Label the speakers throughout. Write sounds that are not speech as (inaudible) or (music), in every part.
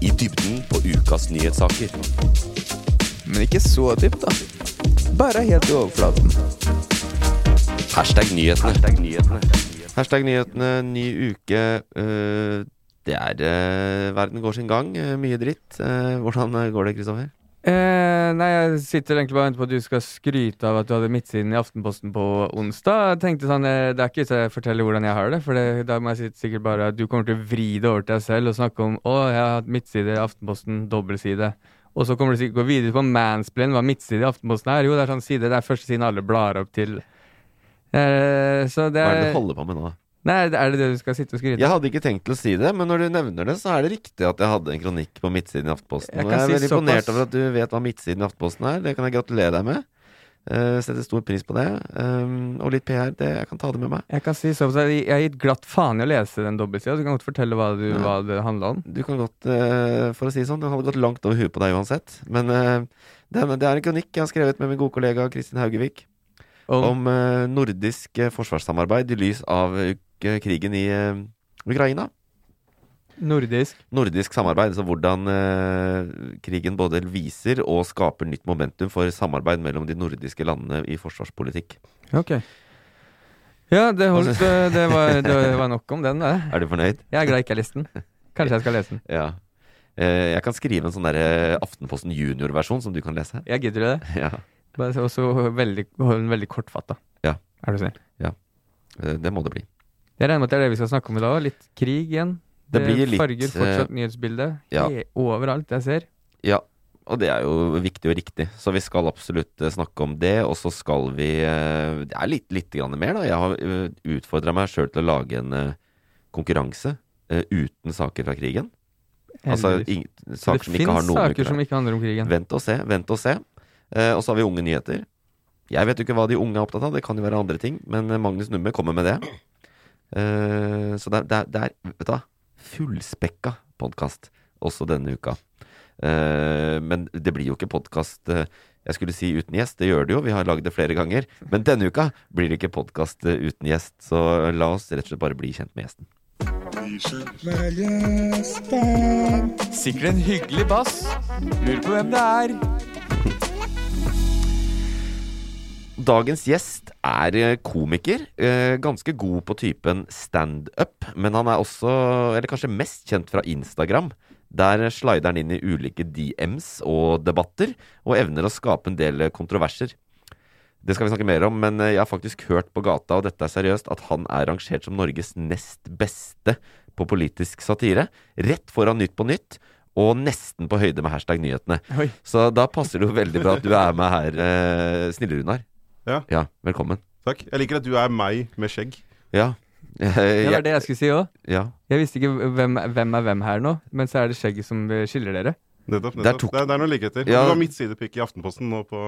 Speaker 1: I dybden på ukas nyhetssaker.
Speaker 2: Men ikke så dypt, da. Bare helt i overflaten.
Speaker 1: Hashtag nyhetene.
Speaker 2: Hashtag nyhetene, ny uke. Eh, det er eh, Verden går sin gang. eh, mye dritt. Eh, hvordan eh, går det, Kristoffer?
Speaker 3: Eh, nei, jeg sitter egentlig bare og venter på at du skal skryte av at du hadde midtsiden i Aftenposten på onsdag. Jeg tenkte sånn, eh, Det er ikke så jeg forteller hvordan jeg har det, for det, da må jeg si- sikkert bare at du kommer til å vri det over til deg selv og snakke om å, jeg har hatt midtside i Aftenposten, dobbeltside. Og så kommer du sikkert gå videre på mansplain hva midtside i Aftenposten er. Jo, det er sånn side, det er første siden alle blar opp til. Eh, så det
Speaker 2: Hva er det
Speaker 3: er,
Speaker 2: du holder på med nå?
Speaker 3: Nei, er det det du skal sitte og skryte
Speaker 2: Jeg hadde ikke tenkt til å si det, men når du nevner det, så er det riktig at jeg hadde en kronikk på midtsiden i Aftenposten.
Speaker 3: Jeg
Speaker 2: Jeg,
Speaker 3: kan
Speaker 2: jeg er
Speaker 3: si
Speaker 2: veldig imponert
Speaker 3: såpass.
Speaker 2: over at du vet hva midtsiden i Aftenposten er. Det kan jeg gratulere deg med. Eh, setter stor pris på det. Um, og litt PR, det, jeg kan ta det med meg.
Speaker 3: Jeg kan si sånn, så jeg jeg har gitt glatt faen i å lese den dobbeltsida, så du kan godt fortelle hva, du,
Speaker 2: Ja.
Speaker 3: hva det handla om.
Speaker 2: Du kan godt, eh, for å si det sånn, den hadde gått langt over huet på deg uansett. Men eh, det, er- det er en kronikk jeg har skrevet med min gode kollega Kristin Haugevik om eh, nordisk eh, forsvarssamarbeid i lys av eh, krigen i eh, Ukraina.
Speaker 3: nordisk.
Speaker 2: nordisk samarbeid, altså hvordan eh, krigen både viser og skaper nytt momentum for samarbeid mellom de nordiske landene i forsvarspolitikk.
Speaker 3: Ok. Ja, det
Speaker 2: Altså-
Speaker 3: holdt. eh, Det
Speaker 2: (laughs)
Speaker 3: var, det var nok om den. Det.
Speaker 2: Er du fornøyd?
Speaker 3: Jeg er glad jeg ikke har lest den. Kanskje jeg skal lese den.
Speaker 2: Ja. Eh, jeg kan skrive en sånn der, eh, Aftenposten junior-versjon som du kan lese. (laughs)
Speaker 3: Jeg gidder det.
Speaker 2: Ja,
Speaker 3: Bare så- også veldig, hold den veldig kortfatta.
Speaker 2: Ja.
Speaker 3: Er du snill.
Speaker 2: eh, det må det bli.
Speaker 3: Jeg regner med at det er det vi skal snakke om i dag. også. Litt krig igjen.
Speaker 2: Det blir litt, eh,
Speaker 3: farger fortsatt nyhetsbildet.
Speaker 2: ja.
Speaker 3: He- Overalt jeg ser.
Speaker 2: Ja, og det er jo viktig og riktig. Så vi skal absolutt eh, snakke om det. Og så skal vi eh, Det er litt, litt grann mer, da. Jeg har utfordra meg sjøl til å lage en eh, konkurranse eh, uten saker fra krigen. Altså
Speaker 3: Heldigvis.
Speaker 2: ing,
Speaker 3: Så
Speaker 2: saker som ikke har
Speaker 3: finnes
Speaker 2: noe med
Speaker 3: saker som
Speaker 2: Ukraina-
Speaker 3: ikke handler om krigen.
Speaker 2: Vent og se, vent og se. Eh, og så har vi unge nyheter. Jeg vet jo ikke hva de unge er opptatt av, det kan jo være andre ting. Men eh, Magnus Numme kommer med det. Eh, så det er, det er, det er vet du, hva? fullspekka podkast også denne uka. Eh, men det blir jo ikke podkast jeg skulle si uten gjest, det gjør det jo, vi har lagd det flere ganger. Men denne uka blir det ikke podkast uten gjest, så la oss rett og slett bare bli kjent med gjesten.
Speaker 3: Sikkert en hyggelig bass. Lurer på hvem det er.
Speaker 2: Dagens gjest er eh, komiker. eh, Ganske god på typen standup. Men han er også, eller kanskje mest kjent fra Instagram. Der slider han inn i ulike DMs og debatter, og evner å skape en del eh, kontroverser. Det skal vi snakke mer om, men eh, jeg har faktisk hørt på gata, og dette er seriøst, at han er rangert som Norges nest beste på politisk satire. Rett foran Nytt på Nytt, og nesten på høyde med hashtag nyhetene.
Speaker 3: Oi.
Speaker 2: Så da passer det jo veldig bra at du er med her, eh, Snille Runar.
Speaker 4: Ja.
Speaker 2: ja. Velkommen.
Speaker 4: Takk. Jeg liker at du er meg med skjegg.
Speaker 2: Ja.
Speaker 3: Det
Speaker 2: ja,
Speaker 3: var det jeg skulle si òg.
Speaker 2: ja.
Speaker 3: Jeg visste ikke hvem, hvem er hvem her nå, men så er det skjegget som eh, skiller dere.
Speaker 4: Nettopp.
Speaker 2: Der
Speaker 4: nettopp.
Speaker 2: tok-
Speaker 4: Det, er, det er noen likheter.
Speaker 2: Ja.
Speaker 4: Du har midtsidepikk i Aftenposten nå på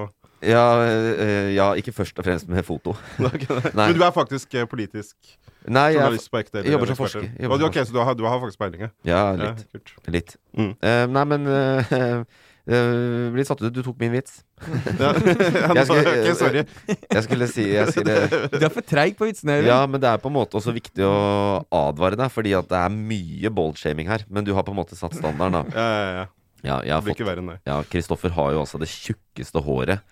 Speaker 2: Ja, eh, ja, ikke først og fremst med foto. Nei.
Speaker 4: Men du er faktisk eh, politisk
Speaker 2: Nei, jeg,
Speaker 4: journalist på ekte?
Speaker 2: jeg jobber som
Speaker 4: ekspert.
Speaker 2: forsker.
Speaker 4: Å,
Speaker 2: Jeg jobber
Speaker 4: du-
Speaker 2: som
Speaker 4: ok, så du har, du har faktisk peiling? ja.
Speaker 2: ja,
Speaker 4: Ja,
Speaker 2: litt.
Speaker 4: kult. (laughs)
Speaker 2: litt.
Speaker 4: Mm.
Speaker 2: Eh, nei, men eh, (laughs) eh, Litt satt ut. Du tok min vits.
Speaker 4: Ja. Ja,
Speaker 2: Jeg skulle-
Speaker 4: (laughs) ok, sorry.
Speaker 2: Jeg skulle si jeg skulle,
Speaker 4: (laughs)
Speaker 3: Du er for treig på vitsene. Øyvind.
Speaker 2: Ja, men det er på en måte også viktig å advare deg, fordi at det er mye boldshaming her. Men du har på en måte satt standarden, da.
Speaker 4: Ja, ja, ja.
Speaker 2: (laughs) Ja, jeg har
Speaker 4: Det blir
Speaker 2: fått
Speaker 4: ikke verre enn det.
Speaker 2: Ja, Kristoffer har jo altså det tjukkeste håret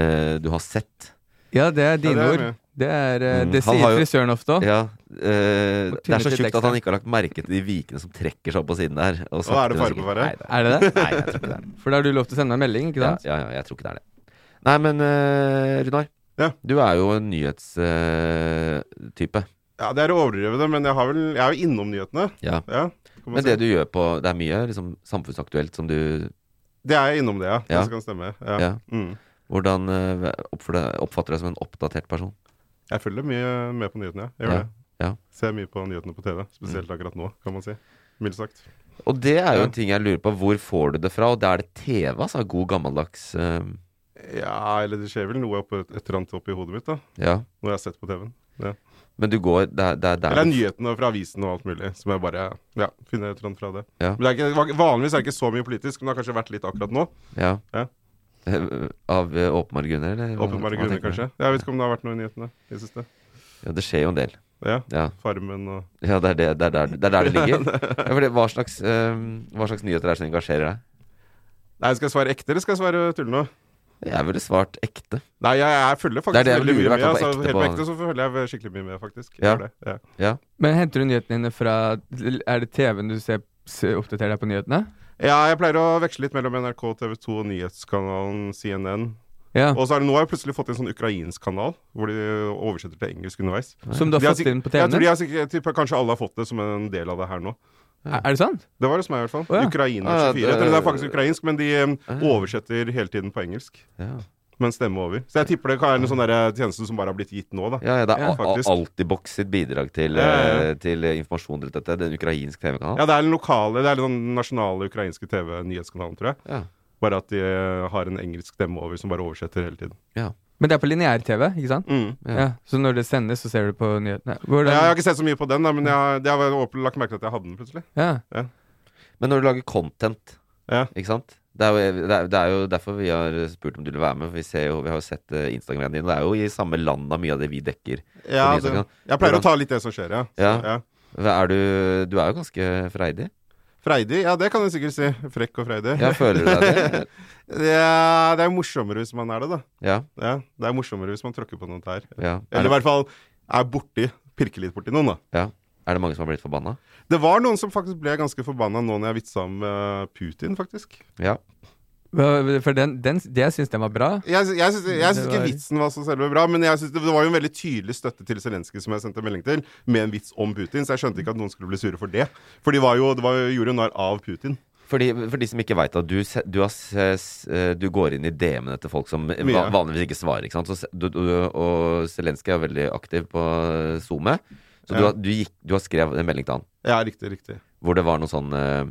Speaker 2: eh, du har sett.
Speaker 3: Ja, det er dine
Speaker 4: ja, det er
Speaker 3: ord.
Speaker 4: med.
Speaker 3: Det, er, eh,
Speaker 2: Mm,
Speaker 3: det
Speaker 2: han
Speaker 3: sier
Speaker 2: har jo-
Speaker 3: frisøren ofte òg.
Speaker 2: Ja, eh,
Speaker 3: Og
Speaker 2: det er så
Speaker 3: tynnet
Speaker 2: tjukt
Speaker 3: litt
Speaker 2: at
Speaker 3: ekstra.
Speaker 2: han ikke har lagt merke til de vikene som trekker seg opp på siden der.
Speaker 4: er
Speaker 2: Og
Speaker 4: det
Speaker 2: sakte, men
Speaker 4: fare
Speaker 2: sikkert-
Speaker 4: på ferde?
Speaker 2: Nei, det er-
Speaker 4: (laughs)
Speaker 3: Er det det?
Speaker 2: Nei, jeg tror ikke det er det.
Speaker 3: For da har du lov til å sende meg en melding, ikke
Speaker 2: Ja,
Speaker 3: sant?
Speaker 2: ja, ja, jeg tror ikke det er det. Nei, men eh, Runar.
Speaker 4: Ja.
Speaker 2: Du er jo en eh, nyhetstype.
Speaker 4: Ja, det er å overdrive det, men jeg, har vel, jeg er jo innom nyhetene.
Speaker 2: ja.
Speaker 4: Ja, kan man
Speaker 2: Men
Speaker 4: si.
Speaker 2: det du gjør på Det er mye liksom, samfunnsaktuelt som du
Speaker 4: det er jeg innom det, ja.
Speaker 2: Ja.
Speaker 4: Det skal stemme. Ja.
Speaker 2: Ja.
Speaker 4: Mm.
Speaker 2: Hvordan eh, oppfører- oppfatter du deg som en oppdatert person?
Speaker 4: Jeg følger mye med på nyhetene, ja. jeg gjør
Speaker 2: Ja,
Speaker 4: det.
Speaker 2: ja.
Speaker 4: Ser mye på nyhetene på TV, spesielt
Speaker 1: Mm.
Speaker 4: akkurat nå, kan man si. Mildt sagt.
Speaker 2: Og det er jo
Speaker 4: Ja.
Speaker 2: en ting jeg lurer på. Hvor får du det fra? Og det er det TV, altså. God gammeldags eh,
Speaker 4: Ja, eller det skjer vel noe oppe, et eller annet oppi hodet mitt, da.
Speaker 2: Ja.
Speaker 4: Når jeg har sett på TV-en. Ja.
Speaker 2: Men du går Det er, det er der
Speaker 4: Eller
Speaker 2: du-
Speaker 4: nyhetene fra avisen og alt mulig, som jeg bare ja, finner et eller annet fra det.
Speaker 2: Ja.
Speaker 4: Men det er ikke, va- vanligvis er det ikke så mye politisk, men det har kanskje vært litt akkurat nå.
Speaker 2: Ja.
Speaker 4: Ja.
Speaker 2: Eh, Av eh, åpenbare grunner, eller? hva-
Speaker 4: Åpenbare
Speaker 2: hva
Speaker 4: grunner,
Speaker 2: tenker du?
Speaker 4: kanskje. Jeg vet ikke om det har vært noe i nyhetene i det siste.
Speaker 2: Ja, det skjer jo en del.
Speaker 4: Ja.
Speaker 2: Ja,
Speaker 4: Farmen og
Speaker 2: ja det, er det, det, er der, det er
Speaker 4: (laughs)
Speaker 2: der det ligger. Ja, for det, hva, slags, eh, hva slags nyheter er det som engasjerer deg?
Speaker 4: Nei, skal jeg svare ekte, eller skal jeg svare tull nå?
Speaker 2: Jeg ville svart ekte.
Speaker 4: Nei, jeg, jeg følger
Speaker 2: Det er
Speaker 4: faktisk
Speaker 2: det jeg
Speaker 4: veldig
Speaker 2: lurer, i
Speaker 4: mye
Speaker 2: hvert
Speaker 4: med.
Speaker 2: fall på
Speaker 4: Altså,
Speaker 2: ekte
Speaker 4: helt på
Speaker 2: på-
Speaker 4: ekte så følger jeg skikkelig mye med, faktisk. Jeg
Speaker 2: Ja.
Speaker 4: gjør det, ja.
Speaker 3: Men henter du nyhetene dine fra Er det TV-en du ser se- oppdaterer deg på nyhetene?
Speaker 4: ja, jeg pleier å veksle litt mellom NRK, TV 2 og nyhetskanalen CNN.
Speaker 3: Ja.
Speaker 4: Og så er det nå har jeg plutselig fått en sånn ukrainsk kanal, hvor de oversetter til engelsk underveis.
Speaker 3: Som du har
Speaker 4: De har
Speaker 3: fått
Speaker 4: sikk-
Speaker 3: inn på
Speaker 4: Jeg tror de
Speaker 3: TV-en?
Speaker 4: har sikkert, tipper Kanskje alle har fått det som en del av det her nå.
Speaker 3: Er er det sant?
Speaker 4: Det var det som er, i hvert fall.
Speaker 3: Å, ja.
Speaker 4: Ukraina 24.
Speaker 2: Ah, det-
Speaker 4: Eller det er faktisk ukrainsk, men de eh, oversetter hele tiden på engelsk.
Speaker 2: Ja,
Speaker 4: Men stemme over. Så jeg tipper det kan være en sånn der tjeneste som bare har blitt gitt nå, da.
Speaker 2: ja, ja det er
Speaker 3: Ja,
Speaker 2: a- a-
Speaker 4: faktisk.
Speaker 2: Altibox sitt bidrag til,
Speaker 4: Ja, ja, ja.
Speaker 2: eh, til eh, informasjon rundt dette. Det er en ukrainsk TV-kanal.
Speaker 4: Ja, det er den lokale, det er den sånn nasjonale ukrainske TV-nyhetskanalen, tror jeg.
Speaker 2: Ja.
Speaker 4: Bare at de eh, har en engelsk stemme over som bare oversetter hele tiden.
Speaker 3: Men det er på lineær-TV, ikke sant?
Speaker 2: Ja.
Speaker 3: Ja. Så når det sendes, så ser du på nyhetene.
Speaker 4: Mm.
Speaker 3: Hvordan,
Speaker 4: Jeg, jeg har ikke sett så mye på den, da, men jeg, har- jeg har åpen- lagt merke til at jeg hadde den plutselig.
Speaker 3: ja.
Speaker 2: Men når du lager content,
Speaker 4: Ja.
Speaker 2: ikke sant? Det er, jo, det, er, det er jo derfor vi har spurt om du vil være med. For vi, ser jo, vi har jo sett eh, Instagramen din. Det er jo i samme land av mye av det vi dekker.
Speaker 4: Ja,
Speaker 2: det-
Speaker 4: det, jeg pleier å ta litt det som skjer, ja. Så,
Speaker 2: Ja.
Speaker 4: ja.
Speaker 2: Er du, du er jo ganske freidig.
Speaker 4: Freidig, ja det kan du sikkert si. Frekk og freidig.
Speaker 2: Ja, føler du
Speaker 4: (laughs)
Speaker 2: deg det?
Speaker 4: Det er det er jo morsommere hvis man er det, da.
Speaker 2: Ja.
Speaker 4: Ja, det er morsommere hvis man tråkker på noen tær.
Speaker 2: ja. Er,
Speaker 4: Eller i
Speaker 2: det,
Speaker 4: hvert fall er borti, pirker litt borti noen, da.
Speaker 2: ja. er det mange som har blitt forbanna?
Speaker 4: Det var noen som faktisk ble ganske forbanna nå når jeg vitsa om eh, Putin, faktisk.
Speaker 2: Ja.
Speaker 3: Hva- For den, den, det jeg syns den var bra
Speaker 4: Jeg, sy- jeg, syns- jeg syns
Speaker 3: Det
Speaker 4: ikke
Speaker 3: var-
Speaker 4: vitsen var så selve bra, men jeg syns det, det var jo en veldig tydelig støtte til Zelenskyj som jeg sendte melding til, med en vits om Putin, så jeg skjønte ikke at noen skulle bli sure for det. For de var jo, det var jo, gjorde jo narr av Putin.
Speaker 2: Fordi, for de som ikke veit at du, se- du, har, se- s- eh, du går inn i DM-ene til folk som va-
Speaker 4: Mye.
Speaker 2: vanligvis ikke svarer. Ikke sant? Så, se- du, du, og Zelenskyj er veldig aktiv på eh, SoMe. Så du,
Speaker 4: Ja.
Speaker 2: har- du, gikk, du har skrevet en melding til han
Speaker 4: Ja, riktig, riktig.
Speaker 2: hvor det var noe sånn eh,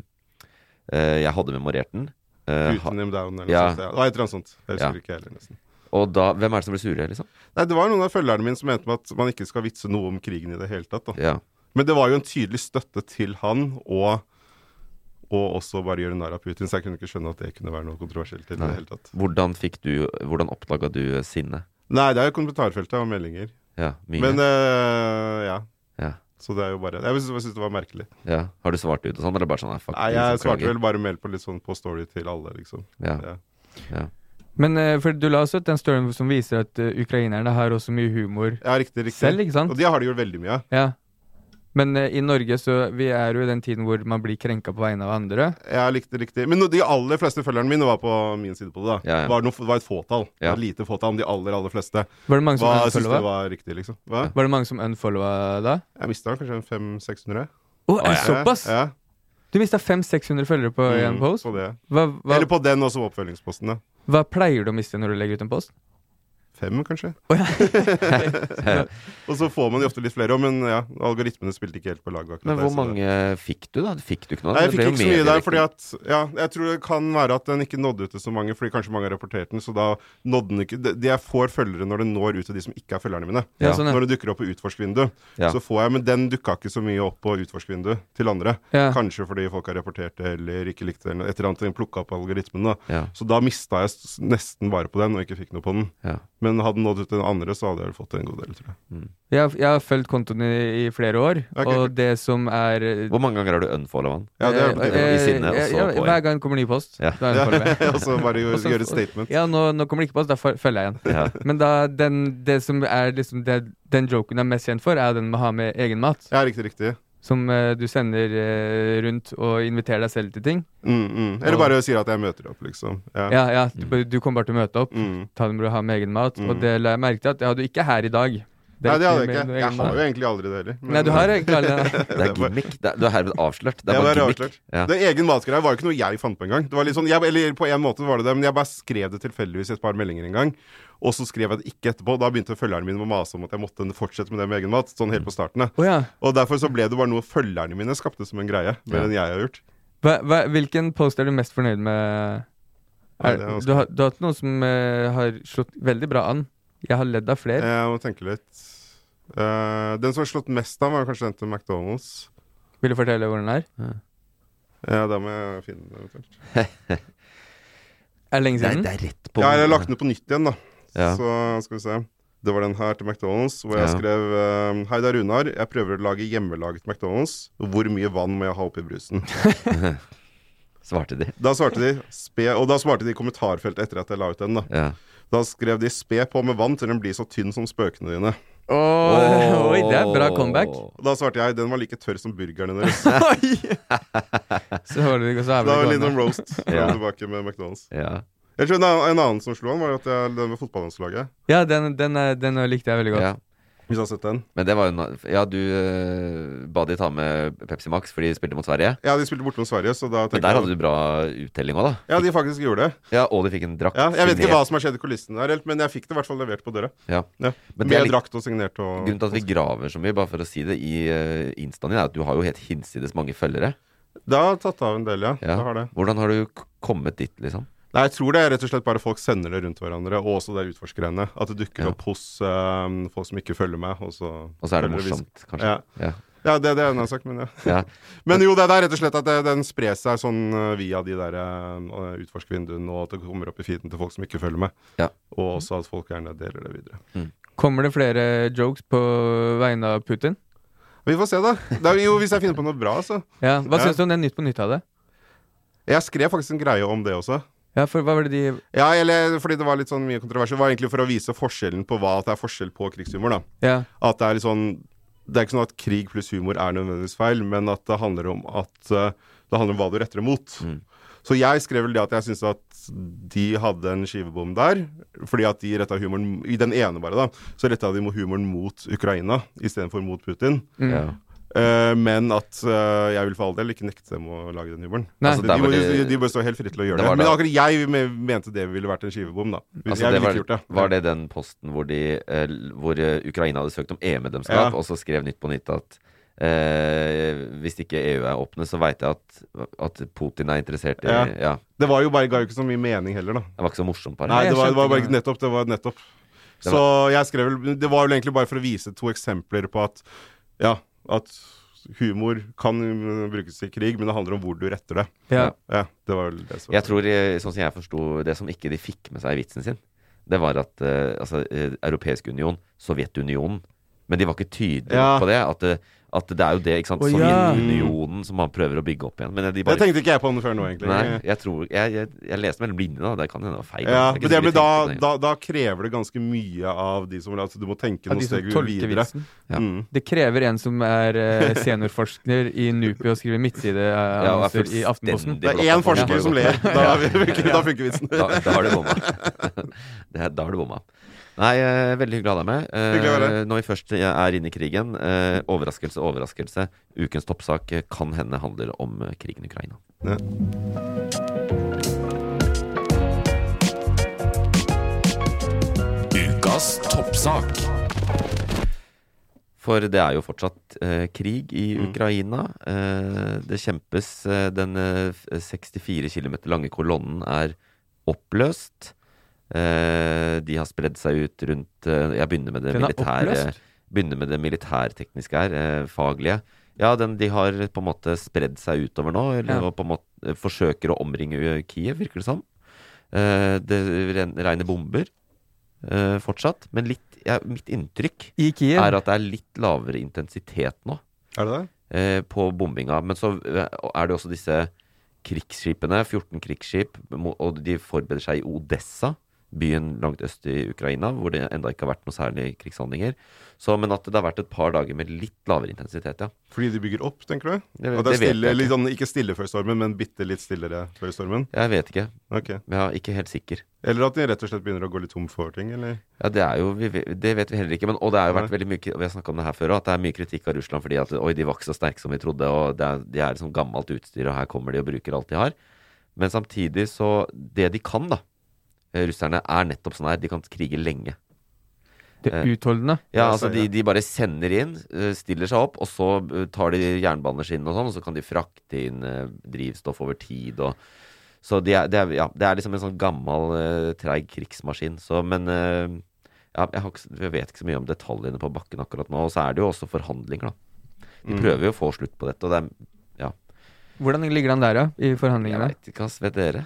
Speaker 2: eh, Jeg hadde memorert den. eh, ha,
Speaker 4: Putin him down, eller noe
Speaker 2: Ja.
Speaker 4: sånt. Ja. Det var et eller annet sånt. Jeg husker
Speaker 2: Ja.
Speaker 4: ikke jeg heller, nesten.
Speaker 2: og da Hvem er det som ble sure, liksom?
Speaker 4: Nei, det var noen av følgerne mine som mente med at man ikke skal vitse noe om krigen i det hele tatt, da.
Speaker 2: Ja.
Speaker 4: Men det var jo en tydelig støtte til han, og, og også bare gjøre narr av Putin. Så jeg kunne ikke skjønne at det kunne være noe kontroversielt i det
Speaker 2: Nei.
Speaker 4: hele tatt.
Speaker 2: Hvordan fikk du Hvordan oppdaga du eh, sinne?
Speaker 4: Nei, det er jo kommentarfeltet og meldinger.
Speaker 2: Ja, mye.
Speaker 4: Men eh, ja.
Speaker 2: ja,
Speaker 4: Så det er jo bare Jeg syns det var merkelig.
Speaker 2: ja. Har du svart ut og sånn, eller bare sånn nei, fuck,
Speaker 4: Nei,
Speaker 2: liksom,
Speaker 4: jeg svarte
Speaker 2: klager.
Speaker 4: vel bare mail på litt sånn på story til alle, liksom.
Speaker 2: ja.
Speaker 4: Ja.
Speaker 3: Men eh, for du la også ut den storyen som viser at eh, ukrainerne har også mye humor
Speaker 4: Ja, riktig, riktig.
Speaker 3: selv, ikke sant?
Speaker 4: Og det har de gjort veldig mye av.
Speaker 3: Ja. Men eh, i Norge så Vi er jo i den tiden hvor man blir krenka på vegne av andre.
Speaker 4: Ja, riktig, riktig. Men no- de aller fleste følgerne mine var på min side på det, da.
Speaker 2: Ja, ja.
Speaker 4: Det Var noe, det var et fåtall. Det
Speaker 2: Ja.
Speaker 4: var Et lite fåtall, men de aller, aller fleste.
Speaker 3: Var det mange som
Speaker 4: Hva syns
Speaker 3: unfollowa?
Speaker 4: dere
Speaker 3: Var...
Speaker 4: var riktig, liksom? Hva?
Speaker 3: det mange som unfollowa da?
Speaker 4: Jeg mista kanskje en 500-600.
Speaker 3: Å, er det såpass!
Speaker 4: Ja,
Speaker 3: Du mista 500-600 følgere på
Speaker 4: ja.
Speaker 3: én
Speaker 4: Mm,
Speaker 3: post.
Speaker 4: På det.
Speaker 3: Hva, hva,
Speaker 4: Eller på den også oppfølgingsposten, da.
Speaker 3: hva pleier du å miste når du legger ut en post?
Speaker 4: Fem, kanskje. (laughs)
Speaker 3: (laughs)
Speaker 4: og så får man jo ofte litt flere òg, men ja, algoritmene spilte ikke helt på lag. akkurat
Speaker 2: Men
Speaker 4: der,
Speaker 2: hvor
Speaker 4: så det-
Speaker 2: mange fikk du, da? Fikk du ikke noe?
Speaker 4: sånn Nei, jeg
Speaker 2: Det
Speaker 4: fikk
Speaker 2: ble jo
Speaker 4: ikke så mye
Speaker 2: mer
Speaker 4: der, fordi
Speaker 2: direkte.
Speaker 4: at Ja, jeg tror det kan være at den ikke nådde ut til så mange, fordi kanskje mange har rapportert den, så da nådde den ikke de- de- Jeg får følgere når det når ut til de som ikke er følgerne mine.
Speaker 2: Ja.
Speaker 3: sånn,
Speaker 4: Når det dukker opp på utforskvindu,
Speaker 2: Ja.
Speaker 4: så får jeg Men den dukka ikke så mye opp på utforskvindu til andre.
Speaker 3: Ja.
Speaker 4: Kanskje fordi folk har rapportert det, eller ikke likte det, eller et eller annet. Den plukka opp algoritmen, da.
Speaker 2: Ja.
Speaker 4: Så da mista jeg s- nesten bare på den, og ikke fikk noe på den.
Speaker 2: Ja.
Speaker 4: Men Men hadde den nådd ut til den andre, så hadde jeg vel fått en god del, tror jeg.
Speaker 3: Jeg, har- jeg har fulgt kontoen i, i flere år,
Speaker 4: Ok.
Speaker 3: og det som er
Speaker 2: Hvor mange ganger har du unfollowa
Speaker 4: (laughs)
Speaker 2: han?
Speaker 4: Ja, det er på
Speaker 3: Eh,
Speaker 4: tide.
Speaker 2: I sinne, og
Speaker 3: eh,
Speaker 2: så
Speaker 3: ja,
Speaker 2: på igjen.
Speaker 3: Hver gang kommer ny post,
Speaker 2: Ja.
Speaker 3: da
Speaker 4: (laughs)
Speaker 3: unfollower jeg.
Speaker 4: Og så bare gjøre,
Speaker 3: Og så-
Speaker 4: gjøre et statement.
Speaker 3: Ja, nå, nå kommer det ikke post, da fol- følger jeg igjen.
Speaker 2: Ja.
Speaker 3: Men da, den, det som er liksom det, den joken jeg er mest kjent for, er den med å ha med egen mat.
Speaker 4: Ja, riktig, riktig.
Speaker 3: Som eh, du sender eh, rundt og inviterer deg selv til ting.
Speaker 4: Mm, mm. Eller
Speaker 3: Og-
Speaker 4: bare sier at jeg møter opp, liksom. Ja.
Speaker 3: Ja, ja, du, bare- du kommer bare til å møte opp.
Speaker 4: Mm.
Speaker 3: Ta den med å ha med egen mat. Og
Speaker 4: Mm.
Speaker 3: det la jeg merke til at det hadde du ikke her i dag.
Speaker 4: Nei, det hadde
Speaker 3: med
Speaker 4: jeg ikke.
Speaker 3: noe
Speaker 4: Jeg
Speaker 3: egen
Speaker 4: har
Speaker 3: mat.
Speaker 4: jo egentlig aldri det heller. men- eh,
Speaker 3: Nei, du har egentlig aldri
Speaker 4: (laughs)
Speaker 3: det.
Speaker 2: Det er gimmick. Det er, du er herved avslørt. Det
Speaker 4: Det
Speaker 2: er
Speaker 4: var
Speaker 2: bare
Speaker 4: avslørt.
Speaker 2: gimmick. Ja.
Speaker 4: Det egen matgreia var jo ikke noe jeg fant på engang. Det var litt sånn, jeg, eller på en måte var det det, men jeg bare skrev det tilfeldigvis i et par meldinger en gang. Og så skrev jeg det ikke etterpå. Da begynte følgerne mine å mase om at jeg måtte fortsette med det med egen mat. Sånn helt på starten. da.
Speaker 3: Å ja.
Speaker 4: Og derfor så ble det bare noe følgerne mine skapte som en greie, mer
Speaker 2: Ja.
Speaker 4: enn jeg har gjort.
Speaker 3: Hva, hva, hvilken post er du mest fornøyd med?
Speaker 4: Nei,
Speaker 3: Er,
Speaker 4: det er vanskelig.
Speaker 3: du, har, du har hatt noen som eh, har slått veldig bra an. Jeg har ledd av flere.
Speaker 4: Jeg må tenke litt. Eh, den som har slått mest av, var kanskje den til McDonald's.
Speaker 3: Vil du fortelle hvor den er?
Speaker 4: Ja, da må jeg finne den eventuelt.
Speaker 3: Er det lenge
Speaker 2: Det, er,
Speaker 3: siden?
Speaker 2: det er rett på
Speaker 4: Ja, jeg har lagt den ut på nytt igjen, da.
Speaker 2: Ja.
Speaker 4: Så skal vi se. Det var den her til McDonald's, hvor jeg
Speaker 2: Ja.
Speaker 4: skrev eh, Hei, det er Runar. Jeg prøver å lage hjemmelaget McDonald's. Hvor mye vann må jeg ha oppi
Speaker 2: (laughs)
Speaker 4: brusen?
Speaker 2: Svarte de.
Speaker 4: Da svarte de spe, Og da svarte de i kommentarfeltet etter at jeg la ut den. Da
Speaker 2: Ja.
Speaker 4: Da skrev de 'spe på med vann til den blir så tynn som spøkene dine'.
Speaker 3: Åh, Oi, det er
Speaker 4: (laughs)
Speaker 3: bra comeback.
Speaker 4: Og da svarte jeg 'den var like tørr som burgerne
Speaker 2: (laughs)
Speaker 4: deres'.
Speaker 3: (laughs) Så hører du ikke
Speaker 4: Da
Speaker 3: så
Speaker 4: var det
Speaker 3: jævlig
Speaker 4: litt om
Speaker 3: gående.
Speaker 4: roast.
Speaker 2: Ja.
Speaker 4: Fram og tilbake med McDonald's.
Speaker 2: Ja.
Speaker 4: Jeg tror en annen, en annen som slo han, var at jeg, den med fotballandslaget.
Speaker 3: Ja, den, den, er- den likte jeg veldig godt.
Speaker 2: ja.
Speaker 4: Hvis du har sett den.
Speaker 2: Men det var jo na- Ja, du eh, ba de ta med Pepsi Max, for de spilte mot Sverige.
Speaker 4: Ja, de spilte borte mot Sverige, så da
Speaker 2: Men
Speaker 4: tenkte
Speaker 2: der
Speaker 4: jeg
Speaker 2: hadde du bra uttelling òg, da.
Speaker 4: Ja, de faktisk gjorde det.
Speaker 2: Ja, og de fikk en drakt.
Speaker 4: Ja, jeg vet ikke hva
Speaker 2: signert.
Speaker 4: som har skjedd i kulissene der, helt, men jeg fikk det i hvert fall levert på døra.
Speaker 2: Ja.
Speaker 4: Ja. Med
Speaker 2: Men det er litt-
Speaker 4: drakt og signert og
Speaker 2: Grunnen til at vi graver så mye, bare for å si det, i eh, instaen din, er at du har jo helt hinsides mange følgere.
Speaker 4: Det har tatt av en del, ja.
Speaker 2: Ja.
Speaker 4: Det har det.
Speaker 2: Hvordan har du k- kommet dit, liksom?
Speaker 4: Nei, jeg tror det er rett og slett bare folk sender det rundt hverandre, og også det utforskergreiene. At det dukker
Speaker 2: Ja.
Speaker 4: opp hos eh, folk som ikke følger med, og så
Speaker 2: Og så er det
Speaker 4: følger vis-
Speaker 2: morsomt, kanskje.
Speaker 4: (laughs)
Speaker 2: Ja.
Speaker 4: Ja, det, det er en annen sak, men ja.
Speaker 2: Ja.
Speaker 4: Men jo, det, det er rett og slett at det, den sprer seg sånn eh, via de der eh, utforskervinduene, og at det kommer opp i feeden til folk som ikke følger med.
Speaker 2: Ja.
Speaker 4: Og også at folk gjerne deler det videre.
Speaker 3: Kommer det flere jokes på vegne av Putin?
Speaker 4: Vi får se, da. Det er, jo, hvis jeg finner på noe bra, så.
Speaker 3: Ja, Hva
Speaker 4: Ja.
Speaker 3: syns du om den Nytt på Nytt av det?
Speaker 4: Jeg skrev faktisk en greie om det også.
Speaker 3: Ja, for hva var det de
Speaker 4: Ja, eller fordi det var litt sånn mye kontrovers. Det var egentlig for å vise forskjellen på hva at det er forskjell på krigshumor, da.
Speaker 3: Ja,
Speaker 4: At det er litt sånn Det er ikke sånn at krig pluss humor er nødvendigvis feil, men at det handler om at eh, Det handler om hva du retter det mot. Så jeg skrev vel det at jeg syntes at de hadde en skivebom der, fordi at de retta humoren I den ene bare, da. Så retta de humoren mot Ukraina istedenfor mot Putin.
Speaker 2: ja.
Speaker 4: Eh, men at eh, jeg vil for all del ikke nekte dem å lage den humoren.
Speaker 3: Nei.
Speaker 4: Altså,
Speaker 2: Altså, der
Speaker 4: de,
Speaker 2: var
Speaker 4: må- de,
Speaker 2: det-
Speaker 4: de bør stå helt fritt til å gjøre
Speaker 2: Det
Speaker 4: det.
Speaker 2: var
Speaker 4: Men
Speaker 2: da-
Speaker 4: akkurat jeg me- mente det ville vært en skivebom, da.
Speaker 2: Altså,
Speaker 4: jeg
Speaker 2: det
Speaker 4: ville
Speaker 2: var,
Speaker 4: ikke gjort det.
Speaker 2: var det den posten hvor, de, eh, l- hvor eh, Ukraina hadde søkt om EU-medlemskap,
Speaker 4: Ja.
Speaker 2: og så skrev Nytt på Nytt at eh, hvis ikke EU er åpne, så veit jeg at, at Putin er interessert i ja.
Speaker 4: Ja. Det var jo bare, ga jo ikke så mye mening heller, da.
Speaker 2: Det var ikke så morsomt, bare.
Speaker 4: Nei,
Speaker 3: jeg
Speaker 4: det var, det var
Speaker 3: skjønte
Speaker 4: bare nettopp. Det var nettopp.
Speaker 2: Det
Speaker 4: Så jeg skrev vel Det var vel egentlig bare for å vise to eksempler på at Ja, at humor kan mm, brukes i krig, men det handler om hvor du retter det.
Speaker 3: ja.
Speaker 4: Ja, det var vel det som
Speaker 2: Jeg tror, eh, sånn som jeg forsto det som ikke de fikk med seg i vitsen sin, det var at eh, altså, eh, Europeisk union, Sovjetunionen Men de var ikke tydelige
Speaker 4: Ja.
Speaker 2: på det. At, det- at det er jo det, ikke sant.
Speaker 3: Å, ja.
Speaker 2: Sovjetunionen som man prøver å bygge opp igjen. Men de
Speaker 4: Det
Speaker 2: bare
Speaker 4: tenkte ikke jeg på den før nå, egentlig.
Speaker 2: Nei, jeg tror Jeg, jeg, jeg leste mellom linjene, da. Det kan hende det var feil.
Speaker 4: Ja,
Speaker 2: Det er ikke
Speaker 4: men det
Speaker 2: sikkert
Speaker 4: blir
Speaker 2: de
Speaker 4: da,
Speaker 2: tenkte det.
Speaker 4: da, da krever det ganske mye av de som altså, Du må tenke
Speaker 3: Av
Speaker 4: noen
Speaker 3: de som
Speaker 4: steg
Speaker 3: tolker
Speaker 4: videre.
Speaker 3: vitsen.
Speaker 2: Ja.
Speaker 4: Mm.
Speaker 3: Det krever en som er
Speaker 2: (laughs)
Speaker 3: eh, seniorforsker i NUPI og
Speaker 2: Ja,
Speaker 3: skriver
Speaker 2: og er
Speaker 3: midtsideannonser i Aftenposten.
Speaker 2: fullstendig
Speaker 4: Det er
Speaker 2: blokka
Speaker 4: én
Speaker 2: på
Speaker 4: forsker
Speaker 2: hvordan
Speaker 4: som
Speaker 2: det har
Speaker 4: ler.
Speaker 2: gått.
Speaker 4: Da, da funker vitsen.
Speaker 2: Da, da har du bomma. (laughs) Det er- Da har du bomma. Nei, eh, veldig hyggelig å ha deg med. Eh,
Speaker 4: Hyggelig å være
Speaker 2: når vi først er inne i krigen, eh, overraskelse, overraskelse. Ukens toppsak eh, kan hende handler om eh, krigen i Ukraina.
Speaker 1: Ukas toppsak.
Speaker 2: For det er jo fortsatt eh, krig i
Speaker 3: Mm.
Speaker 2: Ukraina. Eh, det kjempes. Eh, den eh, 64 km lange kolonnen er oppløst. Eh, de har spredd seg ut rundt eh, Jeg begynner med det
Speaker 3: Den er
Speaker 2: militære.
Speaker 3: oppløst?
Speaker 2: Begynner med det militærtekniske her, eh, faglige. Ja, den, de har på en måte spredd seg utover nå, eller
Speaker 3: Ja.
Speaker 2: og på en måte eh, forsøker å omringe eh, Kiev, virker det som. Eh, det ren- regner bomber. eh, fortsatt. Men litt, ja, mitt inntrykk
Speaker 3: I Kiev.
Speaker 2: er at det er litt lavere intensitet nå
Speaker 4: Er det det?
Speaker 2: eh, på bombinga. Men så eh, er det også disse krigsskipene, 14 krigsskip, mo- og de forbereder seg i Odessa, byen langt øst i Ukraina, hvor det enda ikke har vært noe særlig krigshandlinger. Så, men at det har vært et par dager med litt lavere intensitet, ja.
Speaker 4: Fordi de bygger opp, tenker du?
Speaker 2: Det-
Speaker 4: At det er
Speaker 2: det vet
Speaker 4: stille,
Speaker 2: jeg
Speaker 4: eller
Speaker 2: ikke.
Speaker 4: sånn, ikke stille før stormen, men bitte litt stillere før stormen?
Speaker 2: Jeg vet ikke.
Speaker 4: Ok.
Speaker 2: Jeg er ikke helt sikker.
Speaker 4: Eller at de rett og slett begynner å gå litt tom for ting, eller?
Speaker 2: Ja, det, er jo, vi, vet- det vet vi heller ikke. Men, og det har jo vært
Speaker 4: Nei.
Speaker 2: veldig mye, kri- vi har snakket om det her før, også, at det er mye kritikk av Russland fordi at oi, de var ikke så sterke som vi trodde, og det er, de er liksom gammelt utstyr, og her kommer de og bruker alt de har. Men samtidig så Det de kan, da, eh, russerne, er nettopp sånn her. De kan krige lenge.
Speaker 3: Det
Speaker 2: eh,
Speaker 3: er utholdende.
Speaker 2: Ja,
Speaker 4: Ja,
Speaker 2: altså
Speaker 4: så,
Speaker 2: de,
Speaker 4: ja.
Speaker 2: de bare sender inn, eh, stiller seg opp, og så eh, tar de jernbaneskinnene og sånn, og så kan de frakte inn eh, drivstoff over tid og Så det er, de er, ja, det er liksom en sånn gammel, eh, treig krigsmaskin. Så, men eh, ja, jeg, har ikke, s- jeg vet ikke så mye om detaljene på bakken akkurat nå. Og så er det jo også forhandlinger, da. De prøver jo å få slutt på dette, og det er Ja.
Speaker 3: Hvordan ligger han der, da? I
Speaker 2: Jeg
Speaker 3: forhandlingene?
Speaker 2: veit ikke, ass. Vet dere?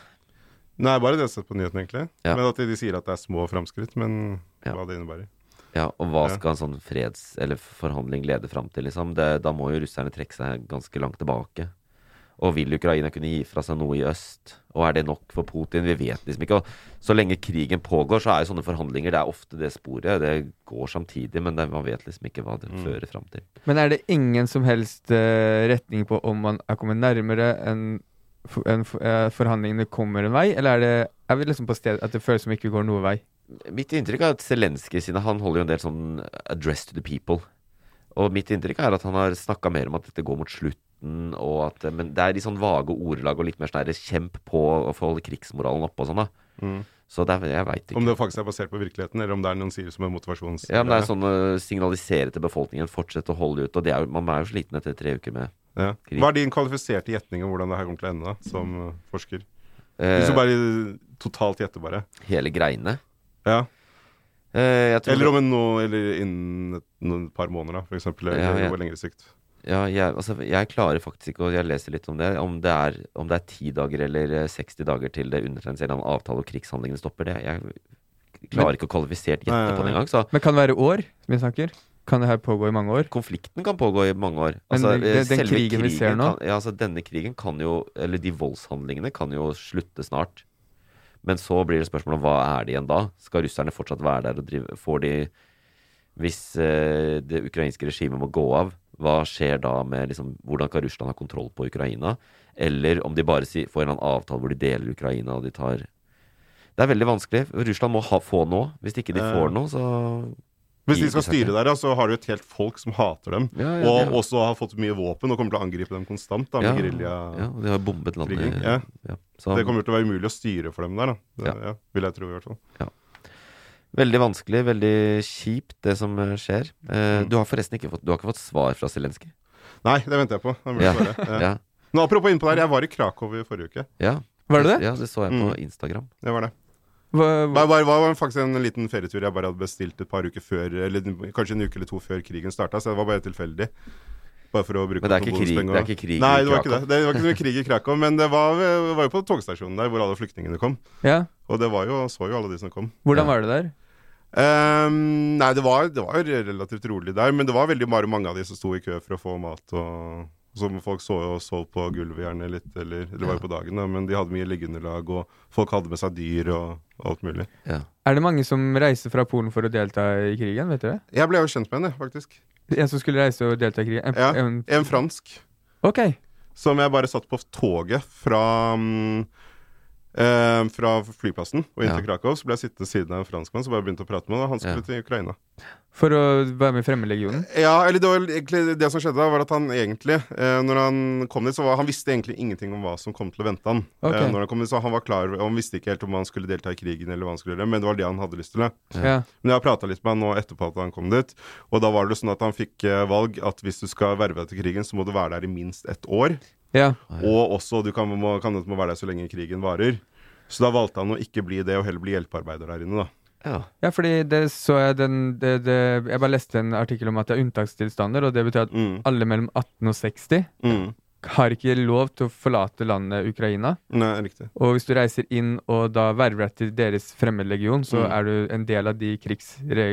Speaker 4: Nei, bare det jeg har sett på nyheten, egentlig.
Speaker 2: Ja.
Speaker 4: Men at de, de sier at det er små framskritt, men
Speaker 2: Ja.
Speaker 4: hva det innebærer.
Speaker 2: Ja, og hva
Speaker 4: Ja.
Speaker 2: skal en sånn freds- eller forhandling lede fram til, liksom? Det, da må jo russerne trekke seg ganske langt tilbake. Og vil Ukraina kunne gi fra seg noe i øst? Og er det nok for Putin? Vi vet liksom ikke. Og så lenge krigen pågår, så er jo sånne forhandlinger det er ofte det sporet. Det går samtidig, men det, man vet liksom ikke hva det fører fram til.
Speaker 3: Men er det ingen som helst eh, retning på om man er kommet nærmere enn for, enn for, eh, forhandlingene kommer en vei, eller er det er vi liksom på stedet at det føles som ikke går noen vei?
Speaker 2: Mitt inntrykk er at Zelenskyj sine Han holder jo en del sånn address to the people. Og mitt inntrykk er at han har snakka mer om at dette går mot slutten, og at Men det er i sånn vage ordelag og litt mer sånn der, kjemp på å få holde krigsmoralen oppe og sånn, da. Så det er, jeg veit ikke.
Speaker 4: Mm. Om det faktisk er basert på virkeligheten, eller om det er noen sier som en motivasjons...
Speaker 2: ja, men det er sånn å signalisere til befolkningen, fortsette å holde ut. Og det er, jo- man er jo sliten etter tre uker med
Speaker 4: Ja. Hva er din kvalifiserte gjetning om hvordan det her kommer til å ende, da, som eh, forsker? Hvis du
Speaker 2: eh,
Speaker 4: bare totalt gjetter, bare.
Speaker 2: hele greiene.
Speaker 4: Ja.
Speaker 2: Eh, jeg tror
Speaker 4: Eller om en nå, eller innen et, noen par måneder, da, for eksempel. Eller
Speaker 2: Ja, ja.
Speaker 4: på lengre sikt.
Speaker 2: Ja, jeg, altså, jeg klarer faktisk ikke, og jeg leser litt om det, om det er, om det er 10 dager eller eh, 60 dager til det undertegnes en eller annen avtale og krigshandlingene stopper. det. Jeg klarer ikke å kvalifisert
Speaker 4: Nei,
Speaker 2: gjette
Speaker 4: nei,
Speaker 2: på det
Speaker 4: nei.
Speaker 2: engang. Så
Speaker 3: Men kan det være år, som vi snakker? Kan det her pågå i mange år?
Speaker 2: konflikten kan pågå i mange år.
Speaker 3: Men
Speaker 2: Altså,
Speaker 3: det-
Speaker 2: eh,
Speaker 3: det- den
Speaker 2: selve
Speaker 3: krigen vi ser nå?
Speaker 2: Kan, ja, altså, denne krigen kan jo, eller de voldshandlingene kan jo slutte snart. Men så blir det spørsmål om hva er det igjen da? Skal russerne fortsatt være der og drive Får de Hvis eh, det ukrainske regimet må gå av, hva skjer da med liksom, Hvordan kan Russland ha kontroll på Ukraina? Eller om de bare si, får en eller annen avtale hvor de deler Ukraina og de tar Det er veldig vanskelig. Russland må ha, få noe. Hvis ikke de
Speaker 4: Ja.
Speaker 2: får noe, så
Speaker 4: Hvis
Speaker 2: Gir
Speaker 4: de skal
Speaker 2: de seg ikke.
Speaker 4: styre der, ja, så har du et helt folk som hater dem.
Speaker 2: Ja, ja,
Speaker 4: og
Speaker 2: det er-
Speaker 4: også har fått mye våpen og kommer til å angripe dem konstant da, med gerilja.
Speaker 2: ja, og de har bombet landet.
Speaker 4: kriging, ja.
Speaker 2: Ja, så-
Speaker 4: Det kommer til å være umulig å styre for dem der, da. Det, ja. vil jeg tro, i hvert fall.
Speaker 2: Veldig vanskelig, veldig kjipt det som eh, skjer. Eh,
Speaker 4: Mm.
Speaker 2: Du har forresten ikke fått, du har ikke fått svar fra Zelenskyj.
Speaker 4: Nei, det venter jeg på. Jeg burde
Speaker 2: Ja.
Speaker 4: svare. Ja.
Speaker 2: Ja.
Speaker 4: Men apropos innpå der, jeg var i Krakow i forrige uke.
Speaker 2: Ja.
Speaker 3: Var det det?
Speaker 2: Ja, det så jeg på
Speaker 4: Mm.
Speaker 2: Instagram.
Speaker 4: Det var det.
Speaker 3: Hva-
Speaker 4: Det var, var faktisk en liten ferietur jeg bare hadde bestilt et par uker før, eller kanskje en uke eller to før krigen starta, så det var bare tilfeldig. Bare for å bruke
Speaker 2: Men det er ikke
Speaker 4: opp
Speaker 2: krig-
Speaker 4: bonuspenger
Speaker 2: det er
Speaker 4: og-
Speaker 2: ikke krig i
Speaker 4: Nei, det var
Speaker 2: Krakow.
Speaker 4: ikke det. Det var ikke noe krig i Krakow, men det var, det var jo på togstasjonen der hvor alle flyktningene kom.
Speaker 3: ja.
Speaker 4: Og det var jo, så jo alle de som kom.
Speaker 3: Hvordan var det der?
Speaker 4: Ehm, nei, det var, det var jo relativt rolig der, men det var veldig bare mange av de som sto i kø for å få mat. og som Folk så og sov på gulvet gjerne litt, eller det var jo på dagen, da, men de hadde mye liggeunderlag, og folk hadde med seg dyr og alt mulig.
Speaker 2: Ja.
Speaker 3: Er det mange som reiser fra Polen for å delta i krigen, vet dere?
Speaker 4: Jeg ble jo kjent med henne, faktisk.
Speaker 3: En som skulle reise og delta i krigen? En,
Speaker 4: Ja,
Speaker 3: en,
Speaker 4: En fransk
Speaker 3: ok.
Speaker 4: som jeg bare satt på toget fra mm, eh, fra flyplassen og inn til
Speaker 2: Ja.
Speaker 4: Krakow. Så ble jeg sittende ved siden av en franskmann som bare begynte å prate med ham. Han
Speaker 2: Ja.
Speaker 4: skulle til Ukraina.
Speaker 3: For å være med i Fremmedlegionen?
Speaker 4: Ja, eller det var egentlig det som skjedde da, var at han egentlig, eh, når han kom dit, så var, han visste egentlig ingenting om hva som kom til å vente han.
Speaker 3: Ok.
Speaker 4: Eh, når han kom dit, så han var klar, over- han visste ikke helt om han skulle delta i krigen eller hva han skulle gjøre, men det var det han hadde lyst til. Det.
Speaker 3: Ja.
Speaker 4: Men jeg har prata litt med han nå etterpå at han kom dit, og da var det sånn at han fikk eh, valg at hvis du skal verve deg til krigen, så må du være der i minst ett år,
Speaker 3: ja.
Speaker 4: og også du kan, må, kan du må være der så lenge krigen varer. Så da valgte han å ikke bli det, og heller bli hjelpearbeider der inne, da.
Speaker 2: Ja.
Speaker 3: Ja, fordi det så jeg den det, det,
Speaker 4: Mm.
Speaker 3: Jeg bare leste en artikkel om at det er unntakstilstander, og det betyr at alle mellom 18 og 60 har ikke lov til å forlate landet Ukraina.
Speaker 4: Nei, riktig.
Speaker 3: Og hvis du reiser inn og da verver deg til deres fremmedlegion, så
Speaker 4: Mm.
Speaker 3: er du en del av de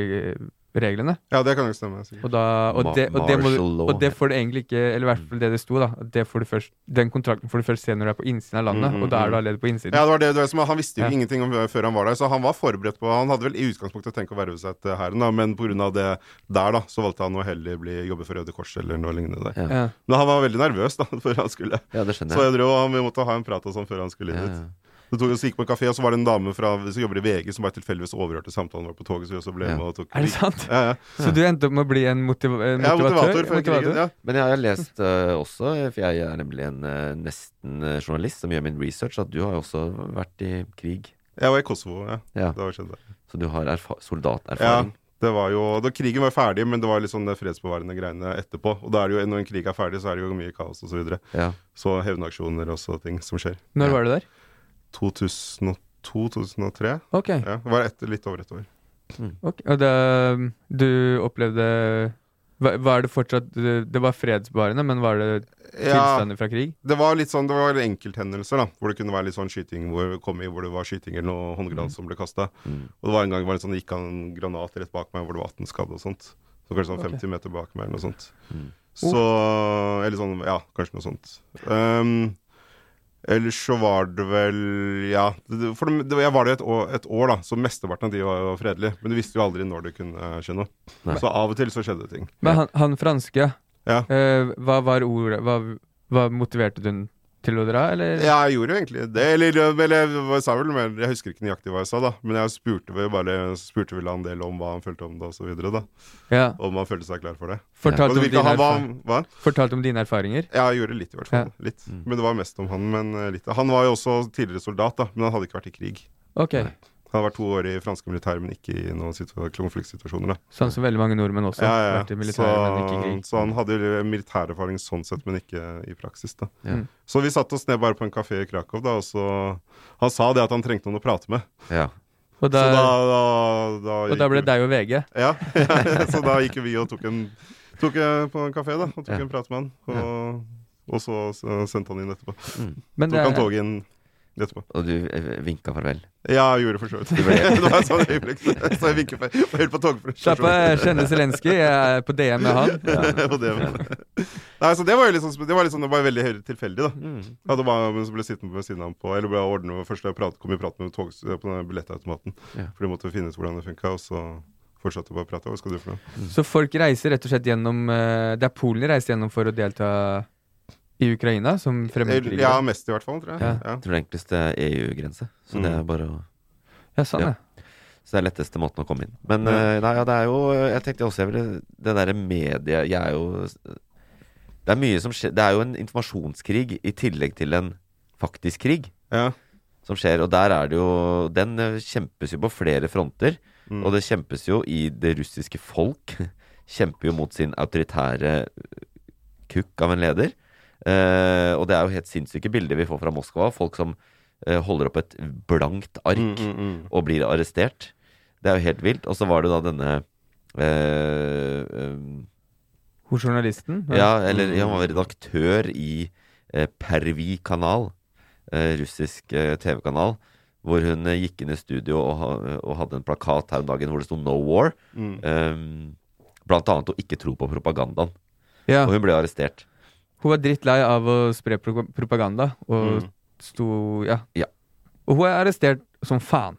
Speaker 3: krigsreglene.
Speaker 4: Ja, det kan jo stemme. sikkert.
Speaker 3: Og, da, og,
Speaker 2: Ma-
Speaker 3: det, og, det må,
Speaker 2: martial
Speaker 3: du-
Speaker 2: law
Speaker 3: og det får du egentlig ikke Eller i hvert fall det det sto, da. at Det får du først, den kontrakten får du først se når du er på innsiden av landet,
Speaker 4: Mm,
Speaker 3: og da
Speaker 4: mm,
Speaker 3: er du allerede på innsiden.
Speaker 4: Ja, det var det, det var som, Han visste jo
Speaker 3: Ja.
Speaker 4: ingenting om, eh, før han var der, så han var forberedt på Han hadde vel i utgangspunktet tenkt å verve seg til hæren, da, men pga. det der, da, så valgte han å heller bli, jobbe for Røde Kors eller noe lignende. Der.
Speaker 2: Ja.
Speaker 3: Ja.
Speaker 4: Men han var veldig nervøs da, (laughs) før han skulle
Speaker 2: Ja, det skjønner
Speaker 4: Så
Speaker 2: jeg.
Speaker 4: jeg tror han, vi måtte ha en prat og sånn før han skulle
Speaker 2: Ja,
Speaker 4: dit.
Speaker 2: ja.
Speaker 4: Så tok, så gikk på en kafé, og så var det en dame fra, som jobber i VG som bare tilfeldigvis overhørte samtalen vår på toget, så vi også ble
Speaker 2: Ja.
Speaker 4: med og tok
Speaker 3: Er det sant?
Speaker 4: Ja, ja.
Speaker 3: Så du endte opp med å bli en motiv
Speaker 4: Jeg
Speaker 3: en
Speaker 4: er motivator
Speaker 3: motivatør?
Speaker 4: for krigen. Ja.
Speaker 2: Men jeg har lest eh, også, for jeg er nemlig en eh, nesten eh, journalist som gjør min research, at du har jo også vært i krig.
Speaker 4: Jeg var i Kosovo, ja.
Speaker 2: Ja.
Speaker 4: Det var skjedd der.
Speaker 2: Så du har
Speaker 4: Ja.
Speaker 2: erfa soldaterfaring.
Speaker 4: Det var jo, da Krigen var ferdig, men det var litt sånn det fredsbevarende greiene etterpå. Og da er det jo, når en krig er ferdig, så er det jo mye kaos og Så, videre.
Speaker 2: Ja.
Speaker 4: så hevnaksjoner og så ting som skjer.
Speaker 3: Når var du der?
Speaker 4: 2002-2003.
Speaker 3: Ok.
Speaker 4: Ja, det var etter, litt over et år.
Speaker 3: ok. Og det, du opplevde hva- Var det fortsatt Det var fredsbevarende, men var det
Speaker 4: Ja,
Speaker 3: tilstander fra krig?
Speaker 4: det var litt sånn, det var enkelthendelser, da. Hvor det kunne være litt sånn skyting hvor, kom i, hvor det var skyting eller noe håndgranat som ble kasta. Og det var en gang det var en sånn, gikk en granat rett bak meg hvor det var 18 skadde og sånt. Så kanskje sånn
Speaker 3: Ok.
Speaker 4: 50 meter bak meg eller noe sånt. Så Eller sånn, ja, kanskje noe sånt. Ehm, ellers så var det vel Ja. det- For det, det, jeg var der et år, et år, da, så mesteparten av de var jo fredelige. Men du visste jo aldri når det kunne skje noe.
Speaker 2: Nei.
Speaker 4: Så av og til så skjedde det ting.
Speaker 3: Men han, han franske,
Speaker 4: Ja.
Speaker 3: eh, hva var ordet Hva, hva motiverte du til å dra, eller?
Speaker 4: Ja, jeg gjorde jo egentlig det. Eller, eller jeg sa vel mer, jeg husker ikke nøyaktig hva jeg sa, da. Men jeg spurte vel, bare, spurte vel han en del om hva han følte om det, og så videre, da.
Speaker 3: Ja.
Speaker 4: Om han følte seg klar for det. Og
Speaker 3: Fortalte
Speaker 4: det
Speaker 3: om,
Speaker 4: virka
Speaker 3: dine
Speaker 4: han var
Speaker 3: erfar-
Speaker 4: hva?
Speaker 3: fortalte om dine erfaringer?
Speaker 4: Ja, jeg gjorde litt, i hvert fall. Litt.
Speaker 3: Mm.
Speaker 4: Men det var mest om han. Men eh, litt. Han var jo også tidligere soldat, da. Men han hadde ikke vært i krig.
Speaker 3: Ok.
Speaker 4: Han hadde vært to år i franske militære, men ikke i noen situ- konfliktsituasjoner. da
Speaker 3: Sånn som veldig mange nordmenn også.
Speaker 4: Ja, Sånn, ja.
Speaker 3: Vært i
Speaker 4: Så,
Speaker 3: militæret, men ikke i krig.
Speaker 4: så han hadde jo militærerfaring sånn sett, men ikke i praksis. da
Speaker 2: Ja. Mm.
Speaker 4: Så vi satte oss ned bare på en kafé i Krakow, da, og så Han sa det at han trengte noen å prate med.
Speaker 2: Ja.
Speaker 3: Og da,
Speaker 4: så da, da, da
Speaker 3: og da ble
Speaker 4: gikk-
Speaker 3: deg og VG.
Speaker 4: Ja, (laughs) så da gikk vi og tok en Tok eh, på en kafé, da, og tok
Speaker 2: Ja.
Speaker 4: en prat med han. Og, og så, så sendte han inn etterpå.
Speaker 3: Men
Speaker 4: Tok
Speaker 3: det,
Speaker 4: han toget inn etterpå.
Speaker 2: Og du eh, vinka farvel.
Speaker 4: Ja, jeg gjorde for så vidt. (laughs) det var et sånt øyeblikk. Så jeg vinket på- var helt på
Speaker 3: slapp av,
Speaker 4: togstasjonen.
Speaker 3: jeg kjenner Zelenskyj. Jeg er på DM med han.
Speaker 4: (laughs) Og det var- Nei, så det var jo litt sånn, sp- det var litt sånn, det var veldig høy- tilfeldig, da. Ja, det var, men så ble jeg sittende ved siden av ham på Eller ble jeg ordnet med først jeg prat, kom i prat med tog, på den billettautomaten.
Speaker 2: Ja.
Speaker 4: For de måtte finne ut hvordan det funka, og så fortsatte jeg bare å prate. Hva skal du for noe?
Speaker 3: Så folk reiser rett og slett gjennom eh, Det er Polen de reiser gjennom for å delta i Ukraina som fremmedkrigere?
Speaker 4: Ja, mest i hvert fall, tror jeg.
Speaker 3: Ja.
Speaker 4: Ja. Mm.
Speaker 2: Jeg tror det enkleste er EU-grense. Så det er bare å
Speaker 3: ja, sånn,
Speaker 2: Ja.
Speaker 3: ja.
Speaker 2: Så det er letteste måten å komme inn. Men eh, nei, ja, det er jo Jeg tenkte også jeg ville Det derre medie Jeg er jo Det er mye som skjer Det er jo en informasjonskrig i tillegg til en faktisk krig
Speaker 4: Ja.
Speaker 2: som skjer. Og der er det jo Den eh, kjempes jo på flere fronter. Og det kjempes jo i det russiske folk. (laughs) Kjemper jo mot sin autoritære eh, kukk av en leder. Eh, og det er jo helt sinnssyke bilder vi får fra Moskva. Folk som eh, holder opp et blankt ark og blir arrestert. Det er jo helt vilt. Og så var det da denne eh, eh,
Speaker 3: Hun journalisten?
Speaker 2: ja, eller han var redaktør i eh, Pervi kanal, eh, russisk eh, TV-kanal, hvor hun eh, gikk inn i studio og, ha- og hadde en plakat her om dagen hvor det sto 'No War'. Eh, blant annet å ikke tro på propagandaen.
Speaker 3: Ja,
Speaker 2: Og hun ble arrestert.
Speaker 3: Hun var drittlei av å spre pro propaganda, og
Speaker 4: Mm.
Speaker 3: sto ja.
Speaker 2: Ja.
Speaker 3: Og hun er arrestert som faen.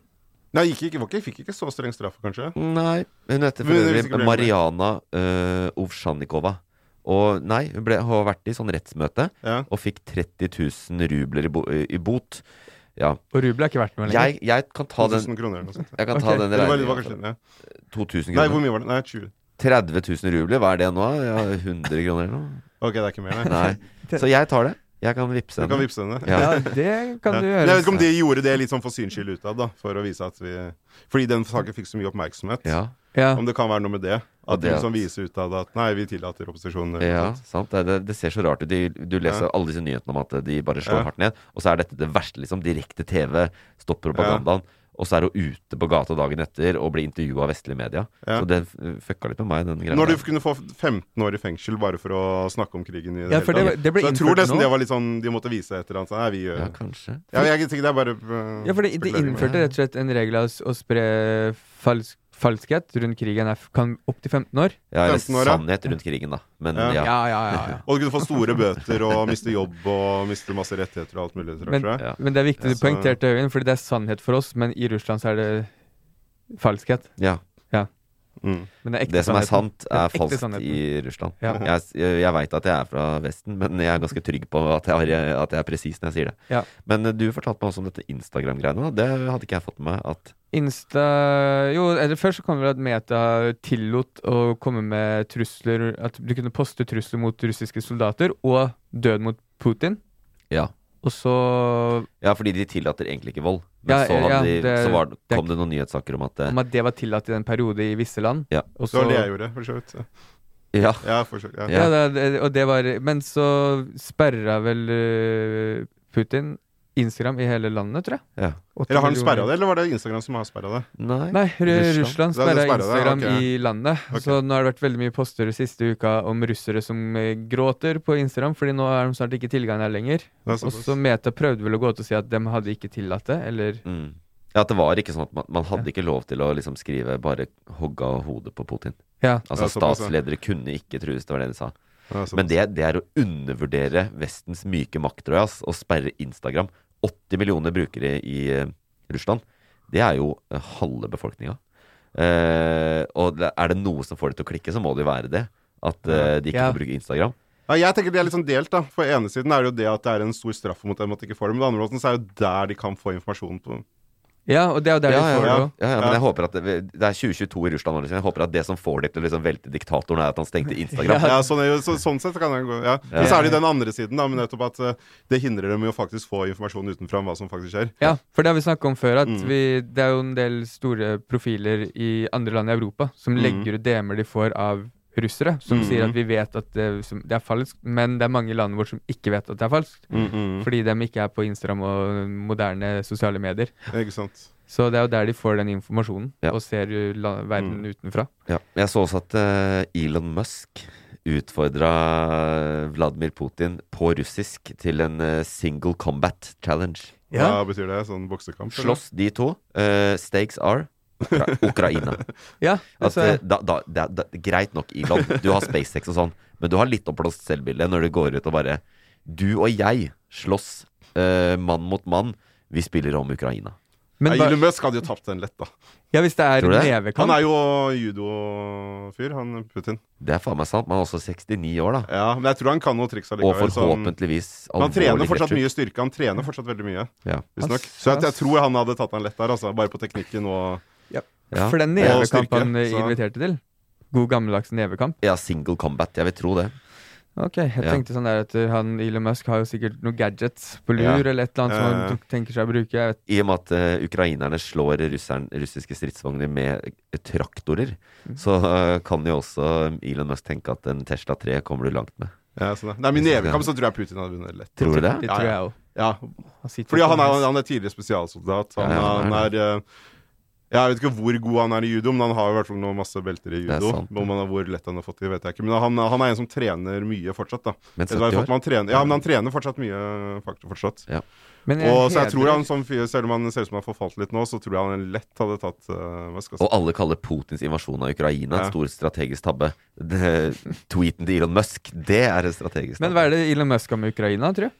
Speaker 4: Nei, gikk ikke, var ikke, fikk ikke så streng straff, kanskje.
Speaker 2: Nei, hun heter for
Speaker 4: Men det er
Speaker 2: øvrig
Speaker 4: sikkert-
Speaker 2: Mariana eh, Ovsjanikova. Og nei, hun ble, har vært i sånn rettsmøte
Speaker 4: Ja.
Speaker 2: og fikk 30 000 rubler i, bo, eh, i bot. Ja.
Speaker 3: Og rubel er ikke verdt noe lenger.
Speaker 2: Jeg, jeg kan ta den
Speaker 4: 1000 kroner eller noe sånt.
Speaker 2: Jeg kan ta
Speaker 3: Ok.
Speaker 2: den
Speaker 4: Det var, det
Speaker 2: regningen,
Speaker 4: var kanskje, ja. Nei,
Speaker 2: 2000 kroner.
Speaker 4: hvor mye var det? Nei, 20.
Speaker 2: 30 000 rubler, hva er det nå? Ja, 100 kroner eller noe?
Speaker 4: Ok, det er ikke mer, nei.
Speaker 2: Nei. Så jeg tar det. Jeg kan vippse
Speaker 4: Du kan
Speaker 2: henne.
Speaker 4: vippse henne.
Speaker 2: Ja.
Speaker 3: Ja, det kan
Speaker 4: Ja.
Speaker 3: du
Speaker 4: Men Jeg
Speaker 3: gjøre.
Speaker 4: vet ikke om de gjorde det litt sånn for syns skyld utad, da. For å vise at vi Fordi den saken fikk så mye oppmerksomhet.
Speaker 2: Ja,
Speaker 3: Ja.
Speaker 4: Om det kan være noe med det.
Speaker 2: Og
Speaker 4: At de
Speaker 2: det at-
Speaker 4: liksom viser utad at nei, vi tillater opposisjonen. eller
Speaker 2: ja
Speaker 4: noe sånt.
Speaker 2: sant. Det, det, det ser så rart ut. De- Du leser
Speaker 4: Ja.
Speaker 2: alle disse nyhetene om at de bare slår
Speaker 4: Ja.
Speaker 2: hardt ned, og så er dette det verste, liksom. Direkte TV, stopp propagandaen. og så er hun ute på gata dagen etter og blir intervjua av vestlige media.
Speaker 4: Ja.
Speaker 2: Så det eh, fucka litt med meg, den greia.
Speaker 4: Når du
Speaker 2: der.
Speaker 4: kunne få 15 år i fengsel bare for å snakke om krigen i det hele
Speaker 3: Ja, for det,
Speaker 4: tatt.
Speaker 3: det ble
Speaker 4: Så jeg tror
Speaker 3: innført
Speaker 4: nesten det
Speaker 3: nå.
Speaker 4: var litt sånn de måtte vise et eller annet. sånn, Nei, vi gjør
Speaker 2: Ja, kanskje.
Speaker 4: Ja, jeg tenker det er bare øh,
Speaker 3: Ja, for det, det
Speaker 4: forklaring.
Speaker 3: innførte rett og slett en regel av å spre falsk, falskhet rundt krigen er f- kan opp til 15 år.
Speaker 2: Ja, eller
Speaker 4: 15 år, ja.
Speaker 2: sannhet rundt krigen, da. Men
Speaker 4: Ja.
Speaker 2: ja.
Speaker 3: Ja, ja, ja. ja.
Speaker 4: Og du kunne få store bøter og miste jobb og miste masse rettigheter og alt mulig. Tror,
Speaker 3: Men-
Speaker 4: tror jeg.
Speaker 2: Ja.
Speaker 3: Men det er viktig
Speaker 4: Ja,
Speaker 3: du
Speaker 4: så-
Speaker 3: poengterte, Høgen, fordi det er sannhet for oss, men i Russland så er det falskhet.
Speaker 2: ja.
Speaker 4: Mm.
Speaker 3: Men det er ekte
Speaker 2: Det som er
Speaker 3: sannheten.
Speaker 2: sant, er
Speaker 3: Den ekte
Speaker 2: falskt
Speaker 3: sannheten.
Speaker 2: i Russland.
Speaker 3: Ja.
Speaker 2: Jeg, jeg veit at jeg er fra Vesten, men jeg er ganske trygg på at jeg, har, at jeg er presis når jeg sier det.
Speaker 3: Ja.
Speaker 2: Men eh, du fortalte meg også om dette Instagram-greiene. da. Det hadde ikke jeg fått med meg. At,
Speaker 3: Insta Jo, eller først så kom det vel at Meta tillot å komme med trusler At du kunne poste trusler mot russiske soldater og død mot Putin.
Speaker 2: ja.
Speaker 3: Og så
Speaker 2: ja, fordi de tillater egentlig ikke vold. Men
Speaker 3: Ja,
Speaker 2: så, hadde
Speaker 3: ja,
Speaker 2: de,
Speaker 3: det-
Speaker 2: så var,
Speaker 3: det-
Speaker 2: kom det noen nyhetssaker om at eh,
Speaker 3: om at det var tillatt i en periode i visse land.
Speaker 2: Ja.
Speaker 3: Og
Speaker 4: det
Speaker 3: så,
Speaker 4: var det jeg gjorde, for så vidt.
Speaker 2: Ja,
Speaker 4: Ja, for så vidt. Ja.
Speaker 2: Ja.
Speaker 3: Ja, det, det, og det var Men så sperra vel eh, Putin Instagram i hele landet, tror jeg.
Speaker 2: ja.
Speaker 4: Eller har den sperra det, eller var det Instagram som har sperra det?
Speaker 2: Nei.
Speaker 3: Nei, Russland,
Speaker 2: Russland.
Speaker 3: Russland
Speaker 4: Det er
Speaker 3: sperra
Speaker 4: det sperret, ja,
Speaker 3: Instagram
Speaker 4: ok.
Speaker 3: i landet. Så nå har det vært veldig mye poster den siste uka om russere som eh, gråter på Instagram, fordi nå har de snart ikke tilgang her lenger.
Speaker 4: Det er
Speaker 3: Og
Speaker 4: såpass.
Speaker 3: så Meta prøvde vel å gå ut og si at de hadde ikke tillatt det, eller
Speaker 2: Mm. Ja, at det var ikke sånn at man, man hadde ikke lov til å liksom skrive 'bare hogga hodet på Putin'.
Speaker 3: Ja.
Speaker 2: Altså
Speaker 4: Ja, såpass, ja.
Speaker 2: statsledere kunne ikke trues, det var det de sa.
Speaker 4: Ja, såpass.
Speaker 2: Men det, det er å undervurdere Vestens myke makt, tror jeg, ass, å sperre Instagram. 80 millioner brukere i eh, Russland. Det er jo eh, halve befolkninga. Eh, og det- er det noe som får de til å klikke, så må det jo være det. At eh, de ikke
Speaker 3: Ja.
Speaker 2: får bruke Instagram.
Speaker 4: Ja, jeg tenker det er litt sånn delt, da. For ene siden er det jo det at det er en stor straff mot dem at de ikke får det, men på den andre måten så er det jo der de kan få informasjon på
Speaker 3: Ja, og det er jo der
Speaker 2: Ja,
Speaker 3: de
Speaker 2: ja,
Speaker 3: får
Speaker 2: ja,
Speaker 3: det
Speaker 2: ja,
Speaker 3: òg.
Speaker 2: ja, men
Speaker 4: Ja.
Speaker 2: jeg håper at det, det er 2022 i Russland. nå, liksom. Jeg håper at det som får dem til å liksom velte diktatoren, er at han
Speaker 3: (laughs)
Speaker 2: stengte Instagram.
Speaker 4: Ja, sånn, er jo- så, sånn sett kan det gå. Ja. Men så er det jo den andre siden, da, men nettopp at eh, det hindrer dem i å faktisk få informasjon utenfra om hva som faktisk skjer.
Speaker 3: Ja, for det har vi snakka om før, at
Speaker 2: Mm.
Speaker 3: vi, det er jo en del store profiler i andre land i Europa som
Speaker 2: Mm.
Speaker 3: legger ut DM-er de får av russere, som sier at vi vet at det, som, det er falskt, men det er mange i landet vårt som ikke vet at det er falskt,
Speaker 2: Mm,
Speaker 3: fordi de ikke er på Instagram og moderne sosiale medier.
Speaker 4: Ikke sant?
Speaker 3: Så det er jo der de får den informasjonen,
Speaker 2: Ja. Mm.
Speaker 3: og ser jo la, verden utenfra.
Speaker 2: Ja. Jeg så også at eh, Elon Musk utfordra Vladimir Putin på russisk til en eh, single combat challenge.
Speaker 4: Hva betyr det? Sånn boksekamp? eller?
Speaker 2: Slåss de to. Eh, stakes are Ukra Ukraina.
Speaker 3: Ja,
Speaker 2: At,
Speaker 3: altså,
Speaker 2: eh, da, da, da, da, greit nok, Elon, du har SpaceX og sånn, men du har litt oppblåst selvbilde når du går ut og bare Du og jeg slåss eh, mann mot mann. Vi spiller om Ukraina.
Speaker 3: men
Speaker 4: ja,
Speaker 3: da,
Speaker 4: Elon Musk hadde jo tapt den lett, da.
Speaker 3: ja, hvis det er
Speaker 2: Tror du det?
Speaker 4: Han
Speaker 3: nevekamp
Speaker 4: er jo judofyr, han Putin.
Speaker 2: Det er faen meg sant. Man er også 69 år, da.
Speaker 4: Ja, Men jeg tror han kan noen triks
Speaker 2: Og
Speaker 4: allikevel. så han-
Speaker 2: forhåpentligvis
Speaker 4: Men han trener
Speaker 2: alvorlig
Speaker 4: fortsatt
Speaker 2: kreftsjuk.
Speaker 4: mye styrke. Han trener fortsatt veldig mye.
Speaker 2: Ja.
Speaker 4: Visstnok. Så jeg, jeg tror han hadde tatt han lett der, altså. Bare på teknikken og
Speaker 2: Ja.
Speaker 3: For den
Speaker 4: Og
Speaker 3: nevekamp han
Speaker 4: styrke,
Speaker 3: eh,
Speaker 4: så-
Speaker 3: inviterte til, god gammeldags nevekamp
Speaker 2: Ja, single combat. Jeg vil tro det.
Speaker 3: Ok, jeg
Speaker 2: Ja.
Speaker 3: tenkte sånn der at uh, han Elon Musk har jo sikkert noen gadgets på lur
Speaker 2: Ja. Eh.
Speaker 3: eller et eller annet som
Speaker 4: Ja, ja,
Speaker 3: han
Speaker 4: ja.
Speaker 3: tok- tenker seg å bruke. Jeg vet.
Speaker 2: I og med at eh, ukrainerne slår russeren, russiske stridsvogner med eh, traktorer,
Speaker 3: Mm.
Speaker 2: så eh, kan jo også Elon Musk tenke at en Tesla 3 kommer du langt med.
Speaker 4: ja, sånn der. Nei, men i nevekamp så tror jeg Putin hadde vunnet lett.
Speaker 2: Tror du det?
Speaker 3: Det
Speaker 4: Ja, ja.
Speaker 3: tror jeg òg.
Speaker 4: Ja,
Speaker 3: Han sitter
Speaker 4: Fordi
Speaker 3: på
Speaker 4: han
Speaker 3: en
Speaker 4: er,
Speaker 3: hest.
Speaker 4: han er tidligere spesialsoldat. Han,
Speaker 2: Ja, ja,
Speaker 4: han
Speaker 2: han er
Speaker 4: er eh, Jeg vet ikke hvor god han er i judo, men han har i hvert fall noe masse belter i
Speaker 2: er
Speaker 4: judo.
Speaker 2: sant, ja.
Speaker 4: Om han har hvor lett han har fått det, vet jeg ikke. Men han, han er en som trener mye fortsatt, da.
Speaker 2: Men
Speaker 4: Jeg tror i hvert
Speaker 2: 70
Speaker 4: fall
Speaker 2: år?
Speaker 4: han trener, ja, men han trener fortsatt mye faktor fortsatt.
Speaker 3: Men jeg
Speaker 4: Og så jeg tror
Speaker 3: hedrer-
Speaker 4: han som fyr, selv om han ser ut som han har forfalt litt nå, så tror jeg han lett hadde tatt eh, hva skal jeg si?
Speaker 2: Og alle kaller Putins invasjon av Ukraina en
Speaker 4: Ja.
Speaker 2: stor strategisk tabbe. Det, tweeten til Elon Musk, det er en strategisk tabbe.
Speaker 3: Men hva er det Elon Musk har med Ukraina, tror jeg?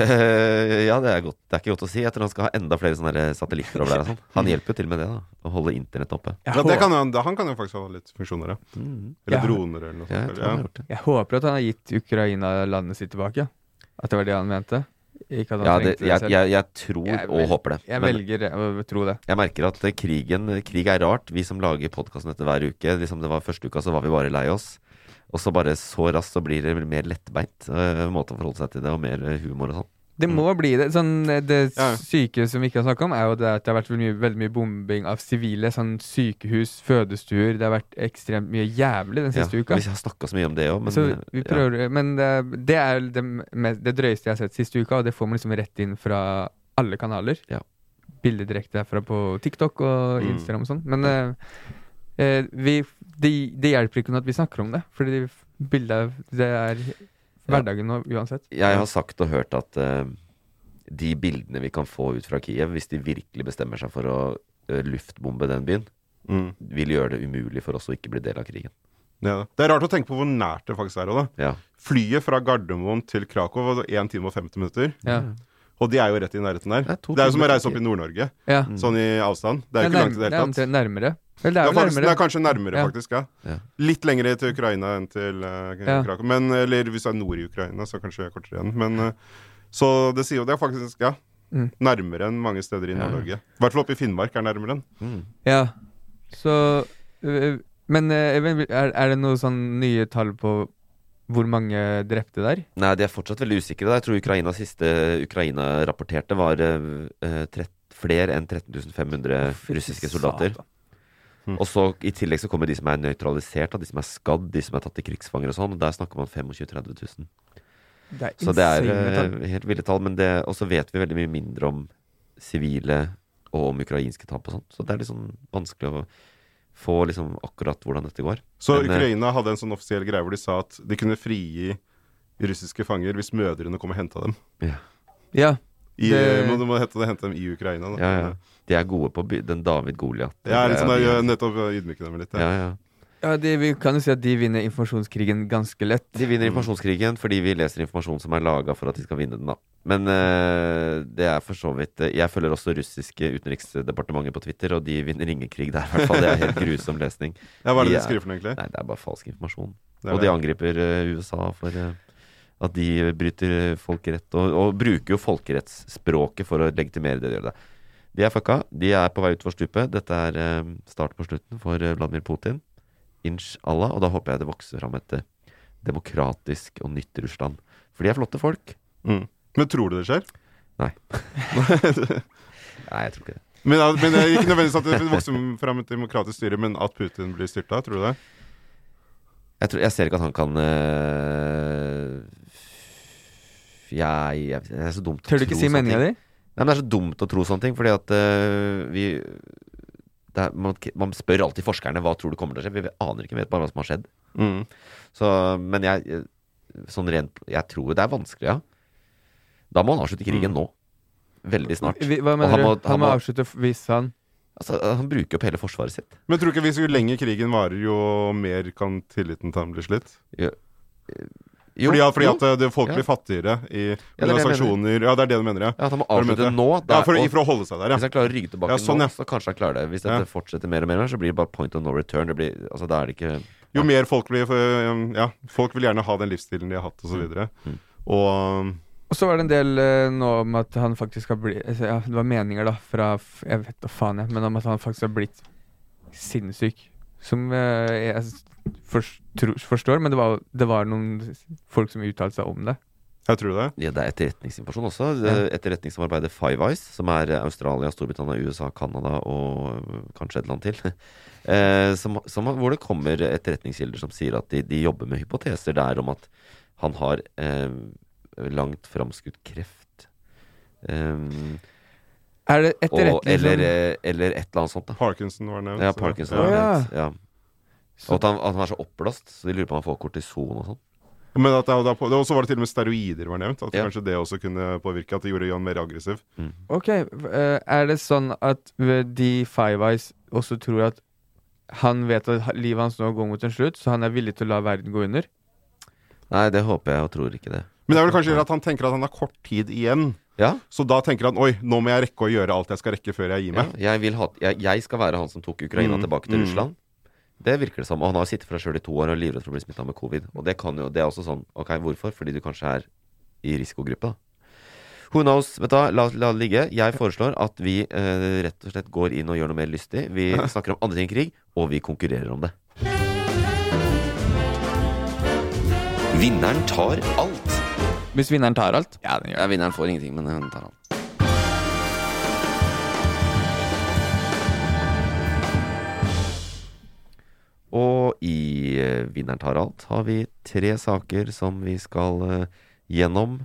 Speaker 2: Eh, (laughs) ja, det er, godt. det er ikke godt å si. Jeg tror han skal ha enda flere sånne her satellitter over der. og sånn.
Speaker 3: Mm.
Speaker 2: Han hjelper jo til med det, da. Å holde internett oppe.
Speaker 3: Jeg,
Speaker 4: ja, det
Speaker 3: håper,
Speaker 4: kan, han, han kan jo faktisk ha litt funksjoner, ja.
Speaker 2: Mhm.
Speaker 4: Eller
Speaker 3: Ja.
Speaker 4: droner eller noe
Speaker 2: Ja, jeg
Speaker 4: sånt.
Speaker 2: tror han har
Speaker 4: Ja.
Speaker 2: gjort det.
Speaker 3: jeg håper at han har gitt Ukraina landet sitt tilbake. At det var det han mente. Ikke at han
Speaker 2: Ja, det,
Speaker 3: trengte det,
Speaker 2: jeg,
Speaker 3: selv.
Speaker 2: jeg, jeg tror
Speaker 3: Jeg
Speaker 2: og
Speaker 3: vel-
Speaker 2: håper det.
Speaker 3: jeg
Speaker 2: Men-
Speaker 3: velger å tro det.
Speaker 2: Jeg merker at eh, krigen, krig er rart. Vi som lager podkasten dette hver uke. Liksom det var Første uka så var vi bare lei oss. Og så bare så raskt så blir det mer lettbeint eh, måte å forholde seg til det, og mer eh, humor og sånn.
Speaker 3: Det må bli det. Sånn, eh, det
Speaker 4: Ja, ja.
Speaker 3: syke som vi ikke har snakka om, er jo det at det har vært veldig mye, veldig mye bombing av sivile. Sånn sykehus, fødestuer. Det har vært ekstremt mye jævlig den
Speaker 2: Ja,
Speaker 3: siste uka.
Speaker 2: Vi har snakka så mye om det òg, men
Speaker 3: så
Speaker 2: eh,
Speaker 3: vi
Speaker 2: ja.
Speaker 3: prøver, Men eh, det er det, me- det drøyeste jeg har sett siste uka, og det får man liksom rett inn fra alle kanaler.
Speaker 2: Ja.
Speaker 3: bilder direkte herfra på TikTok og
Speaker 4: Mm.
Speaker 3: Instagram og sånn. Men eh, eh, vi, det, det hjelper ikke noe at vi snakker om det, fordi bildet det er hverdagen nå uansett.
Speaker 2: Jeg har sagt og hørt at eh, de bildene vi kan få ut fra Kiev, hvis de virkelig bestemmer seg for å eh, luftbombe den byen,
Speaker 4: Mm.
Speaker 2: vil gjøre det umulig for oss å ikke bli del av krigen.
Speaker 4: Ja. Det er rart å tenke på hvor nært det faktisk er òg, da.
Speaker 2: Ja.
Speaker 4: Flyet fra Gardermoen til Krakow var 1 time og 50 minutter.
Speaker 3: Ja.
Speaker 4: Og de er jo rett i nærheten der.
Speaker 2: Det er to
Speaker 4: Det er jo som å
Speaker 2: timer Mm.
Speaker 4: reise opp i Nord-Norge,
Speaker 3: ja.
Speaker 4: sånn i avstand. Det er jo ikke langt i det hele tatt.
Speaker 3: Det er nærmere. Vel, det
Speaker 4: Det
Speaker 3: er
Speaker 4: er,
Speaker 3: vel
Speaker 4: faktisk, det er
Speaker 3: nærmere.
Speaker 4: kanskje nærmere,
Speaker 3: Ja.
Speaker 4: faktisk. ja.
Speaker 2: Ja.
Speaker 4: Litt lengre til Ukraina enn til eh,
Speaker 3: Ja.
Speaker 4: Krakow. Men, eller hvis det er nord i Ukraina, så kanskje det er kortere igjen. Men, eh, så det sier jo det er faktisk ja,
Speaker 3: Mm.
Speaker 4: nærmere enn mange steder i Nord-Norge. I hvert fall oppe i Finnmark er nærmere enn.
Speaker 3: Ja. Så øh, Men øh, Even, er, er det noe sånn nye tall på hvor mange drepte der?
Speaker 2: Nei, de er fortsatt veldig usikre. da. Jeg tror Ukrainas siste Ukraina rapporterte var eh, trett, flere enn 13.500 russiske soldater. Og så I tillegg så kommer de som er nøytralisert, da, de som er skadd, de som er tatt til krigsfanger og sånn. og Der snakker man 25 000-30 000.
Speaker 3: Det
Speaker 2: Så det er eh, helt ville tall. Men det, og så vet vi veldig mye mindre om sivile og om ukrainske tap og sånt. Så det er litt sånn vanskelig å få liksom akkurat hvordan dette går.
Speaker 4: Så
Speaker 2: Men, eh,
Speaker 4: Ukraina hadde en sånn offisiell greie hvor de sa at de kunne frigi russiske fanger hvis mødrene kom og henta dem.
Speaker 2: Ja,
Speaker 3: Ja.
Speaker 4: I,
Speaker 3: Det-
Speaker 4: må, må hente, hente dem i Ukraina. Da.
Speaker 2: ja, ja. De er gode på å by- den David Goliat. eh,
Speaker 4: Jeg er litt sånn,
Speaker 2: de-
Speaker 4: jeg, nettopp ydmyke dem litt.
Speaker 2: ja,
Speaker 4: Ja.
Speaker 2: ja.
Speaker 3: ja de, vi kan jo si at de vinner informasjonskrigen ganske lett.
Speaker 2: De vinner informasjonskrigen fordi vi leser informasjon som er laga for at de skal vinne den, da. Men eh, det er for så vidt eh, Jeg følger også russiske utenriksdepartementet på Twitter, og de vinner ingen krig der, i hvert fall. Det er helt grusom lesning.
Speaker 4: Ja, hva er det
Speaker 2: Ja.
Speaker 4: de skriver for noe, egentlig?
Speaker 2: Nei, det er bare falsk informasjon.
Speaker 4: Det er
Speaker 2: og
Speaker 4: det.
Speaker 2: de angriper eh, USA for eh, at de bryter eh, folkerett, og, og bruker jo folkerettsspråket for å legitimere det de gjør. Det. De er fucka. De er på vei utfor stupet. Dette er eh, start på slutten for eh, Vladimir Putin. Inshallah. Og da håper jeg det vokser fram et eh, demokratisk og nytt Russland. For de er flotte folk.
Speaker 4: Mm. Men tror du det skjer?
Speaker 2: Nei. Nei, jeg tror ikke det.
Speaker 4: Men, ja, men det er Ikke nødvendigvis at det vokser fram et demokratisk styre, men at Putin blir styrta, tror du det?
Speaker 2: Jeg, tror, jeg ser ikke at han kan eh, jeg, jeg, Det er så dumt å
Speaker 3: Tør du
Speaker 2: tro
Speaker 3: ikke si
Speaker 2: sånne ting.
Speaker 3: meninga di?
Speaker 2: Nei, men Det er så dumt å tro sånne ting, fordi at øh, vi det er, man, man spør alltid forskerne hva tror du kommer til å skje. Vi vet- aner ikke, vi vet bare hva som har skjedd.
Speaker 4: Mm.
Speaker 2: Så, men jeg, sånn rent, jeg tror det er vanskelig, ja. Da må han avslutte krigen nå. Veldig snart.
Speaker 3: Mm. Vi- Hva
Speaker 2: Og
Speaker 3: mener
Speaker 2: han må-
Speaker 3: du? Han
Speaker 2: han
Speaker 3: må
Speaker 2: må-
Speaker 3: avslutte f- hvis han
Speaker 2: Altså, han bruker opp hele forsvaret sitt.
Speaker 4: Men tror du ikke hvis jo lenger krigen varer, jo mer kan tilliten til ham bli slitt?
Speaker 2: Jo,
Speaker 4: fordi at, fordi
Speaker 2: jo.
Speaker 4: at eh, det, det, folk
Speaker 2: Ja.
Speaker 4: blir fattigere i
Speaker 2: det er det jeg
Speaker 4: sanksjoner Ja, det er det du mener, ja.
Speaker 2: ja, at han må
Speaker 4: Hva du
Speaker 2: avslutte
Speaker 4: mente?
Speaker 2: nå.
Speaker 4: ja
Speaker 2: der,
Speaker 4: for,
Speaker 2: og,
Speaker 4: for å holde seg der,
Speaker 2: hvis
Speaker 4: ja.
Speaker 2: han klarer å rygge tilbake
Speaker 4: Ja, sånn, ja.
Speaker 2: nå, så kanskje han klarer det. Hvis
Speaker 4: Ja.
Speaker 2: dette fortsetter mer og mer, så blir det bare point of no return. Det blir, altså, da er det ikke
Speaker 4: Jo mer folk blir for- eh, Ja, folk vil gjerne ha den livsstilen de har hatt,
Speaker 2: Mm.
Speaker 4: og så videre. Og eh,
Speaker 3: Og så var det en del eh, nå om at han faktisk har blitt altså, ja, Det var meninger, da, fra f- Jeg vet da faen, jeg, men om at han faktisk har blitt sinnssyk. Som eh, jeg s- forst- tro- forstår, men det var, det var noen s- folk som uttalte seg om det.
Speaker 4: jeg tror det.
Speaker 2: Ja, det er etterretningsinformasjon også. Det er Etterretningssamarbeidet Five Eyes, som er Australia, Storbritannia, USA, Canada og øh, kanskje et land til, (laughs) eh, som, som, hvor det kommer etterretningskilder som sier at de, de jobber med hypoteser der om at han har eh, langt framskutt kreft. Eh,
Speaker 3: Er det
Speaker 2: og,
Speaker 3: etterrettelig
Speaker 2: eller,
Speaker 3: som-
Speaker 2: eh, eller et eller annet sånt, da.
Speaker 4: Parkinson var nevnt.
Speaker 2: Ja,
Speaker 4: så-
Speaker 2: Parkinson.
Speaker 4: Ja.
Speaker 3: Å, ja.
Speaker 2: Ja. Ja. Og at han, at han er så oppblåst, så de lurer på om han får kortison og sånn.
Speaker 4: Men at det, og da- og så var det til og med steroider var nevnt. At
Speaker 2: Ja.
Speaker 4: kanskje det også kunne påvirke, at det gjorde John mer aggressiv.
Speaker 3: Ok, eh, er det sånn at eh, de Five Eyes også tror at han vet at ha- livet hans nå går mot en slutt, så han er villig til å la verden gå under?
Speaker 2: Nei, det håper jeg og tror ikke det.
Speaker 4: Men det er vel kanskje at han tenker at han har kort tid igjen.
Speaker 2: Ja,
Speaker 4: Så da tenker han oi, nå må jeg rekke å gjøre alt jeg skal rekke før jeg gir
Speaker 2: Ja,
Speaker 4: meg.
Speaker 2: jeg, vil ha, jeg, jeg skal være han som tok Ukraina
Speaker 4: Mm,
Speaker 2: tilbake til
Speaker 4: mm.
Speaker 2: Russland. Det virker det som. Og han har sittet for seg sjøl i to år og er livredd for å bli smitta med covid. Og det, kan jo, det er også sånn Ok, hvorfor? Fordi du kanskje er i risikogruppe, da. Who knows? Vet du, hva, la, la det ligge. Jeg foreslår at vi eh, rett og slett går inn og gjør noe mer lystig.
Speaker 4: (laughs)
Speaker 2: Vi snakker om andre ting enn krig, og vi konkurrerer om det. Vinneren tar alt.
Speaker 3: Hvis vinneren tar alt?
Speaker 2: Ja, vinneren får ingenting, men hun tar alt. Og i eh, Vinneren tar alt har vi tre saker som vi skal eh, gjennom.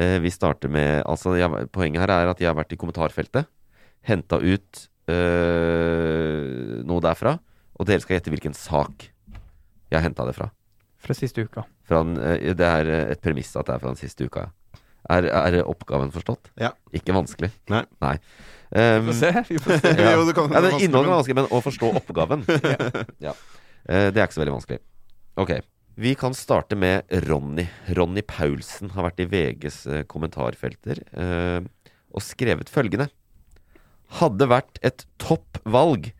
Speaker 2: Eh, vi starter med altså, jeg, Poenget her er at jeg har vært i kommentarfeltet. henta ut eh, noe derfra, og dere skal gjette hvilken sak jeg henta det fra.
Speaker 3: Fra siste uka.
Speaker 2: Fra den, eh, det er eh, et premiss at det er fra den siste uka. ja. Er, er oppgaven forstått?
Speaker 4: (laughs) Ja.
Speaker 2: Ikke vanskelig.
Speaker 4: Nei.
Speaker 2: Nei. Um,
Speaker 3: Få se. Vi får se.
Speaker 2: ja.
Speaker 4: Jo, det kan-
Speaker 2: ja, det
Speaker 4: det er altså.
Speaker 2: innholdet er
Speaker 4: vanskelig,
Speaker 2: vanskelig, men
Speaker 4: (laughs)
Speaker 2: å forstå oppgaven ja. Eh, Det er ikke så veldig vanskelig. Ok. Vi kan starte med Ronny. Ronny Paulsen har vært i VGs eh, kommentarfelter eh, og skrevet følgende. Hadde vært et topp valg,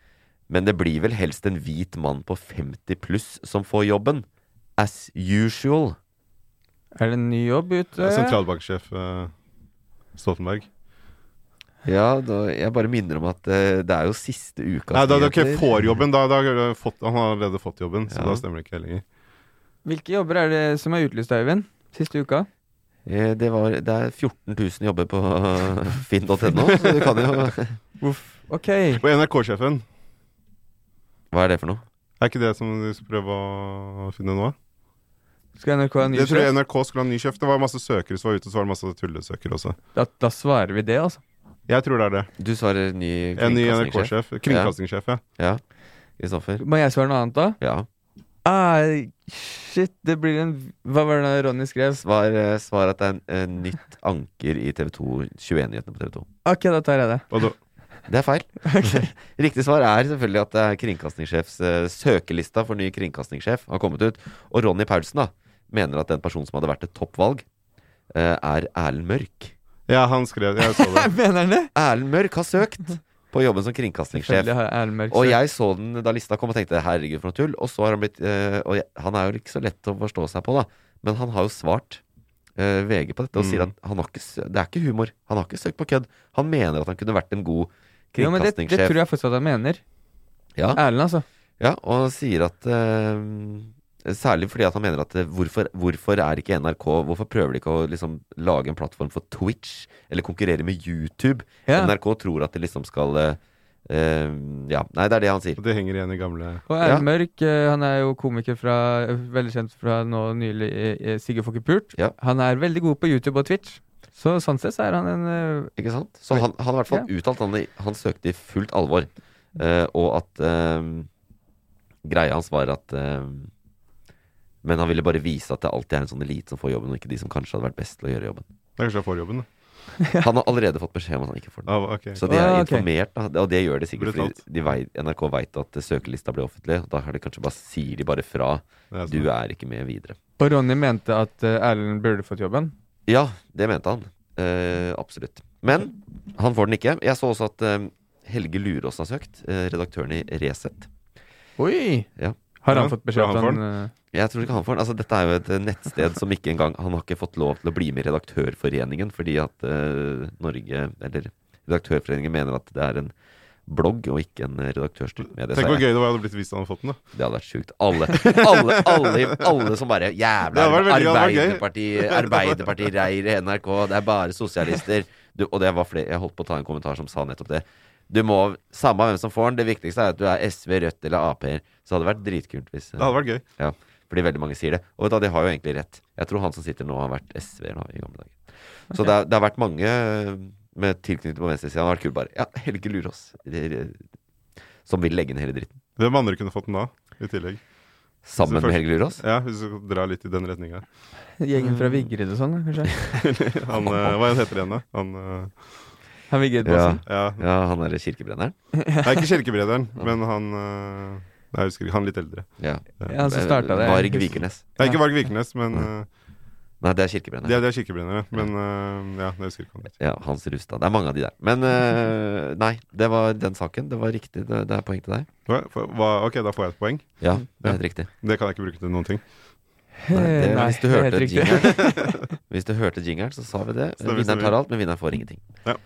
Speaker 2: men det blir vel helst en hvit mann på 50 pluss som får jobben. As usual.
Speaker 3: (laughs) Er det en ny jobb ute?
Speaker 4: Eh, Sentralbanksjef eh, Stoltenberg.
Speaker 2: Ja, da, jeg bare minner om at eh, det er jo siste uka
Speaker 4: Nei, da da ikke får jobben, da, da har jeg fått, han har allerede fått jobben, så
Speaker 2: Ja.
Speaker 4: da stemmer det ikke lenger.
Speaker 3: Hvilke jobber er det som er utlyst, Øyvind? Siste uka?
Speaker 2: Eh, Det, var, det er 14 000 jobber på (laughs) eh, finn.no, så du kan jo (laughs)
Speaker 3: Uff. Ok.
Speaker 4: Og NRK-sjefen,
Speaker 2: Hva er det for noe?
Speaker 4: er ikke det som du skal prøve å finne nå?
Speaker 3: Skal NRK ha en ny
Speaker 4: Det tror jeg
Speaker 3: sjef?
Speaker 4: NRK skulle ha en ny sjef. Det var masse søkere som var ute, så var det masse tullesøkere også.
Speaker 3: Da, da svarer vi det, altså.
Speaker 4: Jeg tror det er det.
Speaker 2: Du svarer ny
Speaker 4: En ny
Speaker 2: kringkastingssjef.
Speaker 4: NRK-sjef. Kringkastingssjef, ja.
Speaker 2: Ja. Kristoffer.
Speaker 3: Må jeg svare noe annet, da?
Speaker 2: Ja.
Speaker 3: Ah, shit, det blir en Hva var det Ronny skrev?
Speaker 2: Svar, eh, svar at det er en, en nytt anker i TV2 21-nyhetene på TV2.
Speaker 3: Ok, da tar jeg det.
Speaker 4: Og da,
Speaker 2: Det er
Speaker 4: (laughs)
Speaker 2: feil. (laughs) Riktig svar er selvfølgelig at det er kringkastingssjefs eh, søkelista for ny kringkastingssjef har kommet ut. Og Ronny Paulsen da mener at den personen som hadde vært et toppvalg, eh, er Erlend Mørk.
Speaker 4: ja, han skrev Jeg så
Speaker 2: (laughs)
Speaker 4: det.
Speaker 3: Mener han det?
Speaker 2: Erlend Mørk har
Speaker 3: (laughs)
Speaker 2: søkt på jobben som kringkastingssjef.
Speaker 3: Selvfølgelig har Erlend Mørk
Speaker 2: Og
Speaker 3: sagt.
Speaker 2: jeg så den da lista kom og tenkte herregud for noe tull. Og så har han blitt eh, Og jeg, han er jo ikke så lett å forstå seg på, da. Men han har jo svart eh, VG på dette og sier at han har ikke, s- det er ikke humor. Han har ikke søkt på kødd. Han mener at han kunne vært en god
Speaker 3: Jo, men det, det
Speaker 2: kringkastingssjef.
Speaker 3: tror jeg fortsatt han mener.
Speaker 2: ja,
Speaker 3: Erlend, altså.
Speaker 2: ja, og han sier at eh, Særlig fordi at han mener at eh, hvorfor, hvorfor er ikke NRK Hvorfor prøver de ikke å liksom, lage en plattform for Twitch? Eller konkurrere med YouTube?
Speaker 3: Ja.
Speaker 2: NRK tror at de liksom skal eh, eh, Ja. Nei, det er det han sier.
Speaker 4: Det henger igjen i gamle
Speaker 3: Og
Speaker 2: Ja.
Speaker 3: Erlend Mørk eh, han er jo komiker fra veldig kjent fra nå nylig eh, Sigurd Fokke Pult.
Speaker 2: Ja.
Speaker 3: Han er veldig god på YouTube og Twitch, så sånn sett så er han en eh,
Speaker 2: Ikke sant? Så han, han har i hvert fall uttalt han, han søkte i fullt alvor. eh, og at eh, greia hans var at eh, Men han ville bare vise at det alltid er en sånn elite som får jobben, og ikke de som kanskje hadde vært best til å gjøre jobben.
Speaker 4: Det er kanskje jeg får jobben, da.
Speaker 2: Han har allerede fått beskjed om at han ikke får den.
Speaker 4: Ah, ok.
Speaker 2: Så de er
Speaker 3: Ah, ok.
Speaker 2: informert, da, og det gjør de sikkert
Speaker 4: Brutalt.
Speaker 2: fordi de vei- NRK veit at eh, søkelista blir offentlig. og Da har de kanskje bare, sier de bare fra
Speaker 4: Det er sånn.
Speaker 2: Du er ikke med videre.
Speaker 3: Og Ronny mente at eh, Erlend burde fått jobben.
Speaker 2: Ja, det mente han. Eh, absolutt. Men han får den ikke. Jeg så også at eh, Helge Lurås har søkt. eh, redaktøren i Resett.
Speaker 3: Oi!
Speaker 2: Ja.
Speaker 3: Har han
Speaker 4: Ja,
Speaker 3: fått beskjed
Speaker 4: bra
Speaker 3: om
Speaker 4: han
Speaker 3: at han eh,
Speaker 2: Jeg tror ikke han får den. Altså, dette er jo et eh, nettsted som ikke engang Han har ikke fått lov til å bli med i Redaktørforeningen fordi at eh, Norge Eller Redaktørforeningen mener at det er en blogg og ikke en eh, redaktørstyrt medie.
Speaker 4: Tenk
Speaker 2: Så
Speaker 4: hvor
Speaker 2: jeg-
Speaker 4: gøy det var hadde blitt hvis han hadde fått den, da.
Speaker 2: Det hadde vært sjukt. Alle, alle, alle, alle som bare Jævla
Speaker 4: Det hadde vært veldig gøy, det hadde vært gøy.
Speaker 2: Arbeiderpartiet, Arbeiderpartiet reier i NRK, det er bare sosialister. Du, og det var flere Jeg holdt på å ta en kommentar som sa nettopp det. Du må, Samme hvem som får den, det viktigste er at du er SV, Rødt eller Ap-er. Så det hadde vært dritkult hvis
Speaker 4: Det hadde vært gøy.
Speaker 2: ja, fordi veldig mange sier det. Og vet du, hva, de har jo egentlig rett. Jeg tror han som sitter nå, har vært SV nå, i gamle dager. Så det, har, det har vært mange eh, med tilknytning på venstresida. Det har vært kult bare. Ja, Helge Lurås. Det- det- Som vil legge ned hele dritten.
Speaker 4: Hvem andre kunne fått den da, i tillegg?
Speaker 2: Sammen med
Speaker 4: Selvfølgelig.
Speaker 2: Helge Lurås.
Speaker 4: Ja, hvis du skal dra litt i den
Speaker 2: (laughs)
Speaker 4: retninga.
Speaker 3: eh, gjengen fra Vigrid og sånn, kanskje?
Speaker 4: Han, eh, hva heter han da? Han eh,
Speaker 3: Han Vigrid
Speaker 2: Ja,
Speaker 3: Bossen?
Speaker 4: Ja.
Speaker 2: ja han derre kirkebrenneren.
Speaker 4: Nei, ikke Kjelkebrederen, men han eh, Nei, jeg husker ikke. Han litt eldre.
Speaker 2: Ja.
Speaker 3: Ja, han som starta det.
Speaker 2: Varg Vikernes.
Speaker 4: Det er ikke Varg Vikernes, men eh,
Speaker 2: Nei, det er kirkebrenneren.
Speaker 4: det, det er kirkebrennere. Men eh, ja, jeg husker ikke han heter.
Speaker 2: Ja, Hans Rustad. Det er mange av de der. Men eh, nei, det var den saken. Det var riktig. Det, det er poeng til deg.
Speaker 4: Hva, hva- ok, da får jeg et poeng.
Speaker 2: Ja, det er helt riktig.
Speaker 4: Det kan jeg ikke bruke til noen ting.
Speaker 2: Nei, det,
Speaker 3: Nei,
Speaker 2: hvis, du
Speaker 3: det er
Speaker 2: hørte
Speaker 3: helt riktig.
Speaker 2: jingeren,
Speaker 3: (laughs)
Speaker 2: hvis du hørte jingeren, så sa vi det.
Speaker 4: Stemmer,
Speaker 2: vinneren
Speaker 4: stemmer.
Speaker 2: tar alt, men vinneren får ingenting.
Speaker 4: Ja.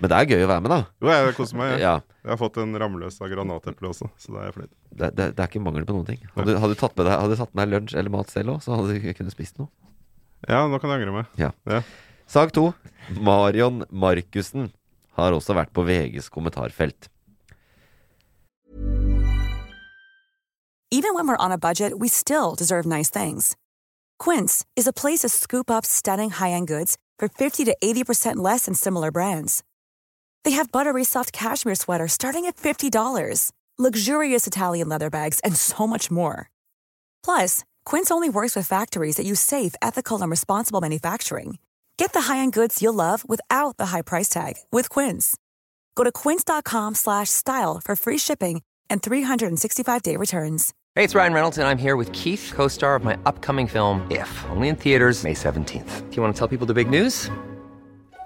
Speaker 2: Men det er gøy å være med, da.
Speaker 4: Jo, jeg koser meg. Jeg,
Speaker 2: Ja,
Speaker 4: jeg har fått en ramløs av granateple også, så da er jeg fornøyd.
Speaker 2: det, det, det er ikke mangel på noen ting. Hadde, hadde, du tatt med deg, hadde du tatt med deg lunsj eller mat selv òg, så hadde du kunnet spist noe.
Speaker 4: Ja, nå kan jeg angre meg.
Speaker 2: Ja.
Speaker 4: Ja.
Speaker 2: Sak to. Marion Markussen har også vært på VGs kommentarfelt.
Speaker 5: Even when we're on a budget, we still deserve nice things. Quince is a place to scoop up stunning high end goods for 50 to 80% less than similar brands. They have buttery soft cashmere sweaters starting at $50, luxurious Italian leather bags, and so much more. Plus, Quince only works with factories that use safe, ethical, and responsible manufacturing. Get the high-end goods you'll love without the high price tag with Quince. Go to quince.com/style slash style for free shipping and 365-day returns.
Speaker 6: Hey, it's Ryan Reynolds, and I'm here with Keith, co star of my upcoming film, If, only in theaters, May 17th. Do you want to tell people the big news?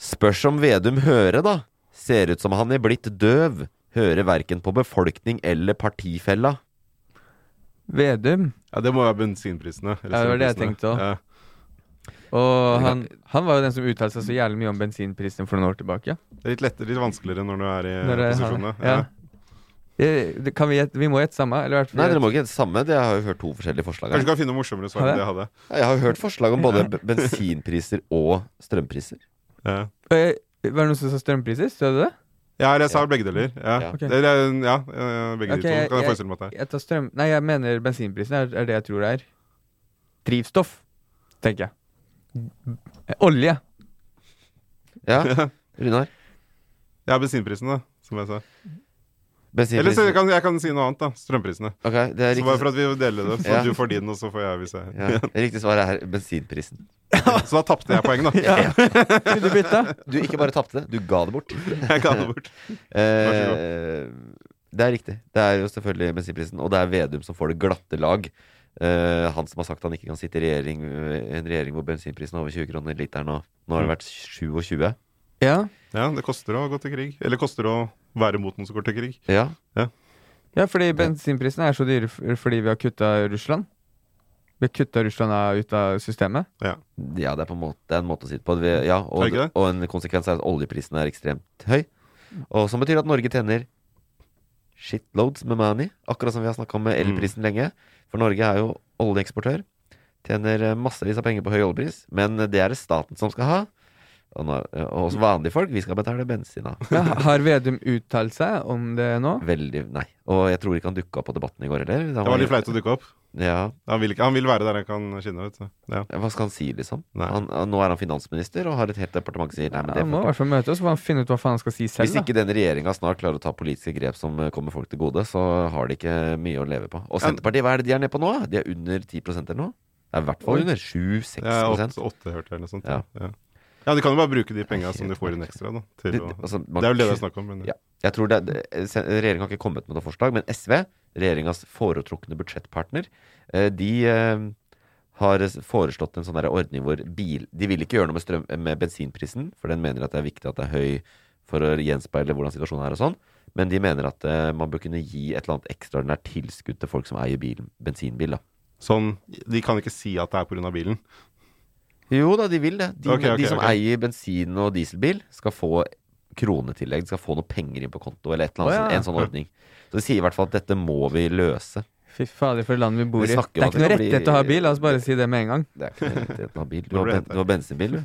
Speaker 2: Spørs om Vedum hører, da. Ser ut som han er blitt døv. Hører verken på befolkning eller partifella.
Speaker 3: Vedum.
Speaker 4: Ja, det må være bensinprisene. eller
Speaker 3: Ja, det var det jeg
Speaker 4: strømprisene.
Speaker 3: tenkte også.
Speaker 4: Ja.
Speaker 3: Og han, han var jo den som uttalte seg så jævlig mye om bensinprisen for noen år tilbake.
Speaker 4: Det er litt lettere, litt vanskeligere når du er i
Speaker 3: Når det-
Speaker 4: posisjonene.
Speaker 3: ja. Eh, det- Kan vi, gjette- vi må gjette samme. Eller i hvert fall
Speaker 2: Nei, dere
Speaker 3: gjette-
Speaker 2: må ikke gjette samme. Det har jo hørt to forskjellige forslag.
Speaker 4: Kanskje du
Speaker 2: Her.
Speaker 4: kan finne noe morsommere svar
Speaker 3: Ja,
Speaker 4: enn det jeg hadde.
Speaker 2: Jeg har jo hørt forslag om både b- bensinpriser og strømpriser.
Speaker 4: Ja.
Speaker 3: Eh, Var det noen som sa strømpriser? Så du det?
Speaker 4: Ja, eller jeg sa begge deler. Ja,
Speaker 2: Ja.
Speaker 3: Ok.
Speaker 4: Eller, ja eh, begge de
Speaker 3: Ok,
Speaker 4: to. Kan
Speaker 3: jeg-
Speaker 4: jeg
Speaker 3: jeg-
Speaker 4: forestille meg at det er.
Speaker 3: Jeg tar strøm... Nei, jeg mener bensinprisen er, er det jeg tror det er. Drivstoff, tenker jeg. Eh, Olje.
Speaker 4: (laughs)
Speaker 2: Ja, Runar.
Speaker 4: Ja, bensinprisene, da, som jeg sa. Eller så jeg
Speaker 2: Bensinpriser.
Speaker 4: kan jeg kan si noe annet, da. Strømprisene.
Speaker 2: Ok, det er
Speaker 4: Så bare
Speaker 2: riktig.
Speaker 4: for at vi deler det. Så
Speaker 2: Ja.
Speaker 4: du får din, og så får jeg hvis jeg
Speaker 2: Ja, riktig svar er bensinprisen.
Speaker 4: (laughs) Så da tapte jeg poeng, da.
Speaker 3: (laughs) Vil du
Speaker 4: (laughs)
Speaker 3: bytte?
Speaker 2: Du ikke bare tapte det, du ga det bort.
Speaker 4: Jeg ga det bort.
Speaker 2: Eh, det er riktig. Det er jo selvfølgelig bensinprisen. Og det er Vedum som får det glatte lag. Eh, han som har sagt han ikke kan sitte i regjering, eh, en regjering hvor bensinprisen er over 20 kroner literen. Og nå har det vært 27.
Speaker 3: Ja.
Speaker 4: Ja, det koster å gå til krig. Eller koster å være mot noen som går til krig.
Speaker 2: Ja,
Speaker 3: ja, fordi bensinprisene er så dyre f- fordi vi har kutta Russland. Vi har kutta Russland av- ut av
Speaker 4: (laughs)
Speaker 3: systemet.
Speaker 2: ja det, er på en måte, det er en måte å si det på. Vi, ja,
Speaker 4: Er
Speaker 2: og,
Speaker 4: det ikke det?
Speaker 2: og en konsekvens er at oljeprisen er ekstremt høy. Og Som betyr at Norge tjener shitloads med money. Akkurat som vi har snakka om med
Speaker 4: Mm.
Speaker 2: elprisen lenge. For Norge er jo oljeeksportør. Tjener eh, massevis av penger på høy oljepris, men det er det staten som skal ha. Og, nå, og oss vanlige folk, vi skal betale bensin av.
Speaker 3: Men ha- har Vedum uttalt seg om det nå?
Speaker 2: Veldig Nei. Og jeg tror ikke han dukka opp på Debatten i går heller. Han
Speaker 4: Det var litt flaut å dukke opp.
Speaker 2: Ja,
Speaker 4: Han vil, ikke, han vil være der han kan skinne ut. så. Ja.
Speaker 2: Hva skal han si, liksom?
Speaker 4: Nei.
Speaker 2: Han, han- nå er han finansminister og har et helt departement som sier nei, men det
Speaker 3: Han må
Speaker 2: får
Speaker 3: i hvert
Speaker 2: ikke.
Speaker 3: fall møte oss, så får han finne ut hva faen han skal si selv.
Speaker 2: Hvis
Speaker 3: da.
Speaker 2: ikke den regjeringa snart klarer å ta politiske grep som eh, kommer folk til gode, så har de ikke mye å leve på. Og
Speaker 4: Ja.
Speaker 2: Senterpartiet, hva er det de er nede på nå? De er under 10 eller noe? Det er i hvert fall under 7-6
Speaker 4: Ja, åtte, åtte hørte jeg, eller noe sånt.
Speaker 2: Ja.
Speaker 4: Ja. Ja. de kan jo bare bruke de penga som de får inn ekstra, da. Til
Speaker 2: Det-
Speaker 4: å,
Speaker 2: altså, man
Speaker 4: det er jo det det
Speaker 2: kun-
Speaker 4: er snakk om. Men,
Speaker 2: Ja. Jeg tror det, det Regjeringa har ikke kommet med noe forslag, men SV, regjeringas foretrukne budsjettpartner, eh, de eh, har foreslått en sånn der ordning hvor bil De vil ikke gjøre noe med, strøm, med bensinprisen, for den mener at det er viktig at det er høy for å gjenspeile hvordan situasjonen er og sånn. Men de mener at eh, man bør kunne gi et eller annet ekstraordinært tilskudd til folk som eier bil, bensinbil. da
Speaker 4: Sånn, de kan ikke si at det er pga. bilen.
Speaker 2: Jo da, de vil det. De,
Speaker 4: Ok, ok,
Speaker 2: de som
Speaker 4: ok.
Speaker 2: eier bensin- og dieselbil, skal få kronetillegg. De skal få noe penger inn på konto, eller et eller annet.
Speaker 3: Å,
Speaker 2: sånn-
Speaker 3: ja.
Speaker 2: En sånn ordning. Så de sier i hvert fall at dette må vi løse.
Speaker 3: Fy fader, for et land vi bor i.
Speaker 2: Vi
Speaker 3: Det er
Speaker 2: snakker om at
Speaker 3: ikke noe
Speaker 2: det kan bli-
Speaker 3: rettighet til å ha bil, la oss bare si det med en gang.
Speaker 2: Det er ikke (laughs) realiteten av bil. Du
Speaker 4: Hva
Speaker 2: har,
Speaker 4: ble
Speaker 2: ben,
Speaker 4: det?
Speaker 2: du har bensinbil, du.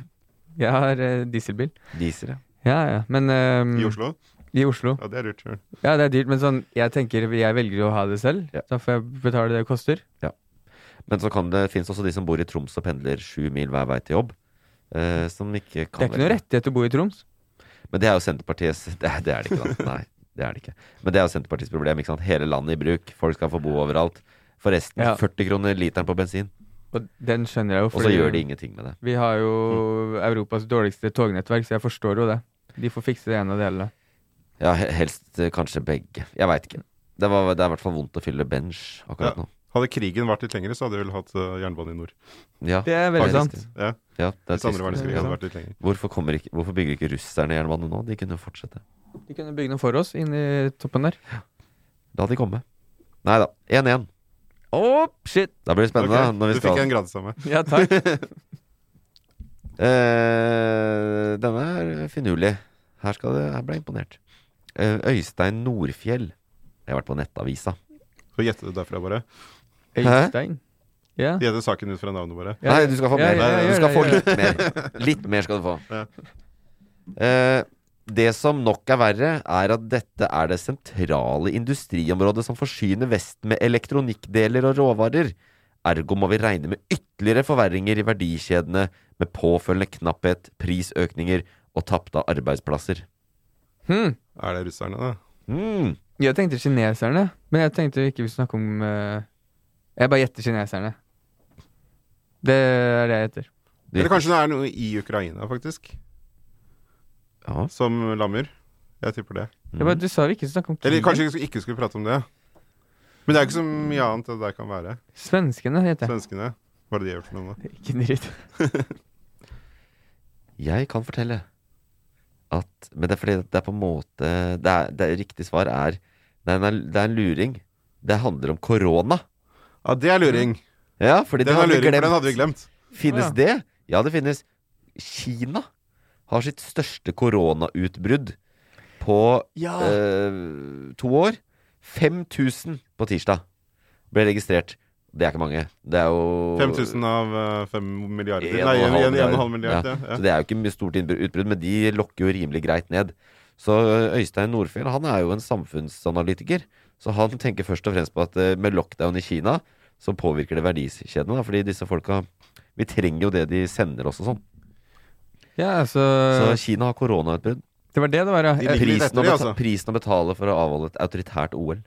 Speaker 3: Jeg har eh, dieselbil.
Speaker 2: Diesel, ja. Mm.
Speaker 3: Ja, ja, men ehm,
Speaker 4: I Oslo?
Speaker 3: I Oslo.
Speaker 4: Ja, det er lurt. Ja.
Speaker 3: Ja, det er dyrt, men sånn, jeg tenker jeg velger å ha det selv. Da får jeg betale det det koster.
Speaker 2: Ja. Men så kan det finnes også de som bor i Troms og pendler sju mil hver vei til jobb. eh, som ikke kan
Speaker 3: Det er ikke noe rettighet å bo i Troms.
Speaker 2: Men det er jo Senterpartiets (laughs) Det, er- det er det ikke, da. Nei, det er det ikke. Men det er jo Senterpartiets problem. ikke sant? Hele landet i bruk. Folk skal få bo overalt. Forresten,
Speaker 3: Ja.
Speaker 2: 40 kroner literen på bensin.
Speaker 3: Og den skjønner jeg jo.
Speaker 2: Og så
Speaker 3: fordi
Speaker 2: gjør de Mm. ingenting med det.
Speaker 3: Vi har jo Europas dårligste tognettverk, så jeg forstår jo det. De får fikse det ene og det hele.
Speaker 2: Ja, he- helst eh, kanskje begge. Jeg veit ikke. Det, var, det er i hvert fall vondt å fylle bench
Speaker 4: Ja.
Speaker 2: akkurat nå.
Speaker 4: Hadde krigen vært litt lengre, så hadde vi vel hatt eh, jernbane i nord.
Speaker 2: Ja,
Speaker 3: Det er veldig
Speaker 2: faktisk.
Speaker 3: sant.
Speaker 4: Ja.
Speaker 2: Ja, det er
Speaker 4: Hvis andre
Speaker 2: trist.
Speaker 4: verdenskrig
Speaker 2: Ja.
Speaker 4: hadde vært litt lenger.
Speaker 2: Hvorfor, kommer ikke, hvorfor bygger ikke russerne jernbane nå? De kunne jo fortsette.
Speaker 3: De kunne bygge noe for oss inni toppen der.
Speaker 2: La de komme. Nei da. 1-1.
Speaker 3: Oh, shit!
Speaker 2: Da blir det spennende.
Speaker 4: Ok,
Speaker 2: når vi
Speaker 4: du
Speaker 2: skal
Speaker 4: fikk en gradstamme.
Speaker 3: Ja,
Speaker 2: (laughs)
Speaker 3: takk.
Speaker 2: Eh, denne er finurlig. Her, skal det, her ble jeg imponert. Eh, Øystein Nordfjell. Jeg har vært på Nettavisa.
Speaker 4: Så gjette det derfra, bare.
Speaker 2: Hæ?
Speaker 3: Øystein. Ja.
Speaker 4: Gjette saken ut fra navnet, bare.
Speaker 3: Ja,
Speaker 2: Nei, du skal få
Speaker 3: ja,
Speaker 2: mer.
Speaker 3: ja, ja,
Speaker 2: du skal
Speaker 3: gjør
Speaker 2: få
Speaker 3: det,
Speaker 2: litt mer. Litt mer skal du få.
Speaker 4: Ja.
Speaker 2: Eh, det som nok er verre, er at dette er det sentrale industriområdet som forsyner Vesten med elektronikkdeler og råvarer. Ergo må vi regne med ytterligere forverringer i verdikjedene, med påfølgende knapphet, prisøkninger og tapte arbeidsplasser.
Speaker 3: Hmm.
Speaker 4: Er det russerne, da?
Speaker 2: Mm.
Speaker 3: Jeg tenkte kineserne, men jeg tenkte vi ikke vi snakke om eh, Jeg bare gjetter kineserne. Det er det jeg gjetter.
Speaker 2: Du-
Speaker 4: Eller kanskje det er noe i Ukraina, faktisk,
Speaker 2: Ja.
Speaker 4: som lammer. Jeg tipper det.
Speaker 3: Jeg bare, du sa vi ikke skulle snakke om
Speaker 4: Eller
Speaker 3: krigen.
Speaker 4: kanskje vi skulle- ikke skulle prate om det. Men det er ikke så mye annet det der kan være.
Speaker 3: Svenskene, heter jeg.
Speaker 4: Svenskene. Hva er det de gjør for noe nå?
Speaker 3: (laughs) Ikke dritt.
Speaker 2: Jeg kan fortelle at Men det er fordi det er på en måte Det, er, det er, riktige svar er det er, en, det er en luring. Det handler om korona.
Speaker 4: Ja, det er luring.
Speaker 2: Ja, fordi
Speaker 4: Den
Speaker 2: det
Speaker 4: er
Speaker 2: har vi
Speaker 4: luring, for
Speaker 2: glemt.
Speaker 4: den hadde vi glemt.
Speaker 2: Finnes
Speaker 3: Å, ja.
Speaker 2: det? Ja, det finnes. Kina har sitt største koronautbrudd på
Speaker 3: Ja.
Speaker 2: eh, to år. 5000 på tirsdag ble registrert. Det er ikke mange. Det er jo
Speaker 4: 5000 av eh, 5 milliarder.
Speaker 2: En og
Speaker 4: Nei,
Speaker 2: en halv
Speaker 4: 1,5
Speaker 2: milliard.
Speaker 4: milliard. Ja. Ja.
Speaker 2: Så det er jo ikke mye stort innbru- utbrudd, men de lokker jo rimelig greit ned. Så ø, Øystein Nordfjell han er jo en samfunnsanalytiker, så han tenker først og fremst på at ø, med lockdown i Kina så påvirker det verdikjedene, da, fordi disse folka Vi trenger jo det de sender oss og sånn.
Speaker 3: Ja, altså
Speaker 2: Så Kina har koronautbrudd.
Speaker 3: Det var det det var,
Speaker 4: De
Speaker 3: ja.
Speaker 4: ligger litt etter
Speaker 2: Prisen, å
Speaker 4: de,
Speaker 2: beta
Speaker 4: altså.
Speaker 2: prisen å betale for å avholde et autoritært OL.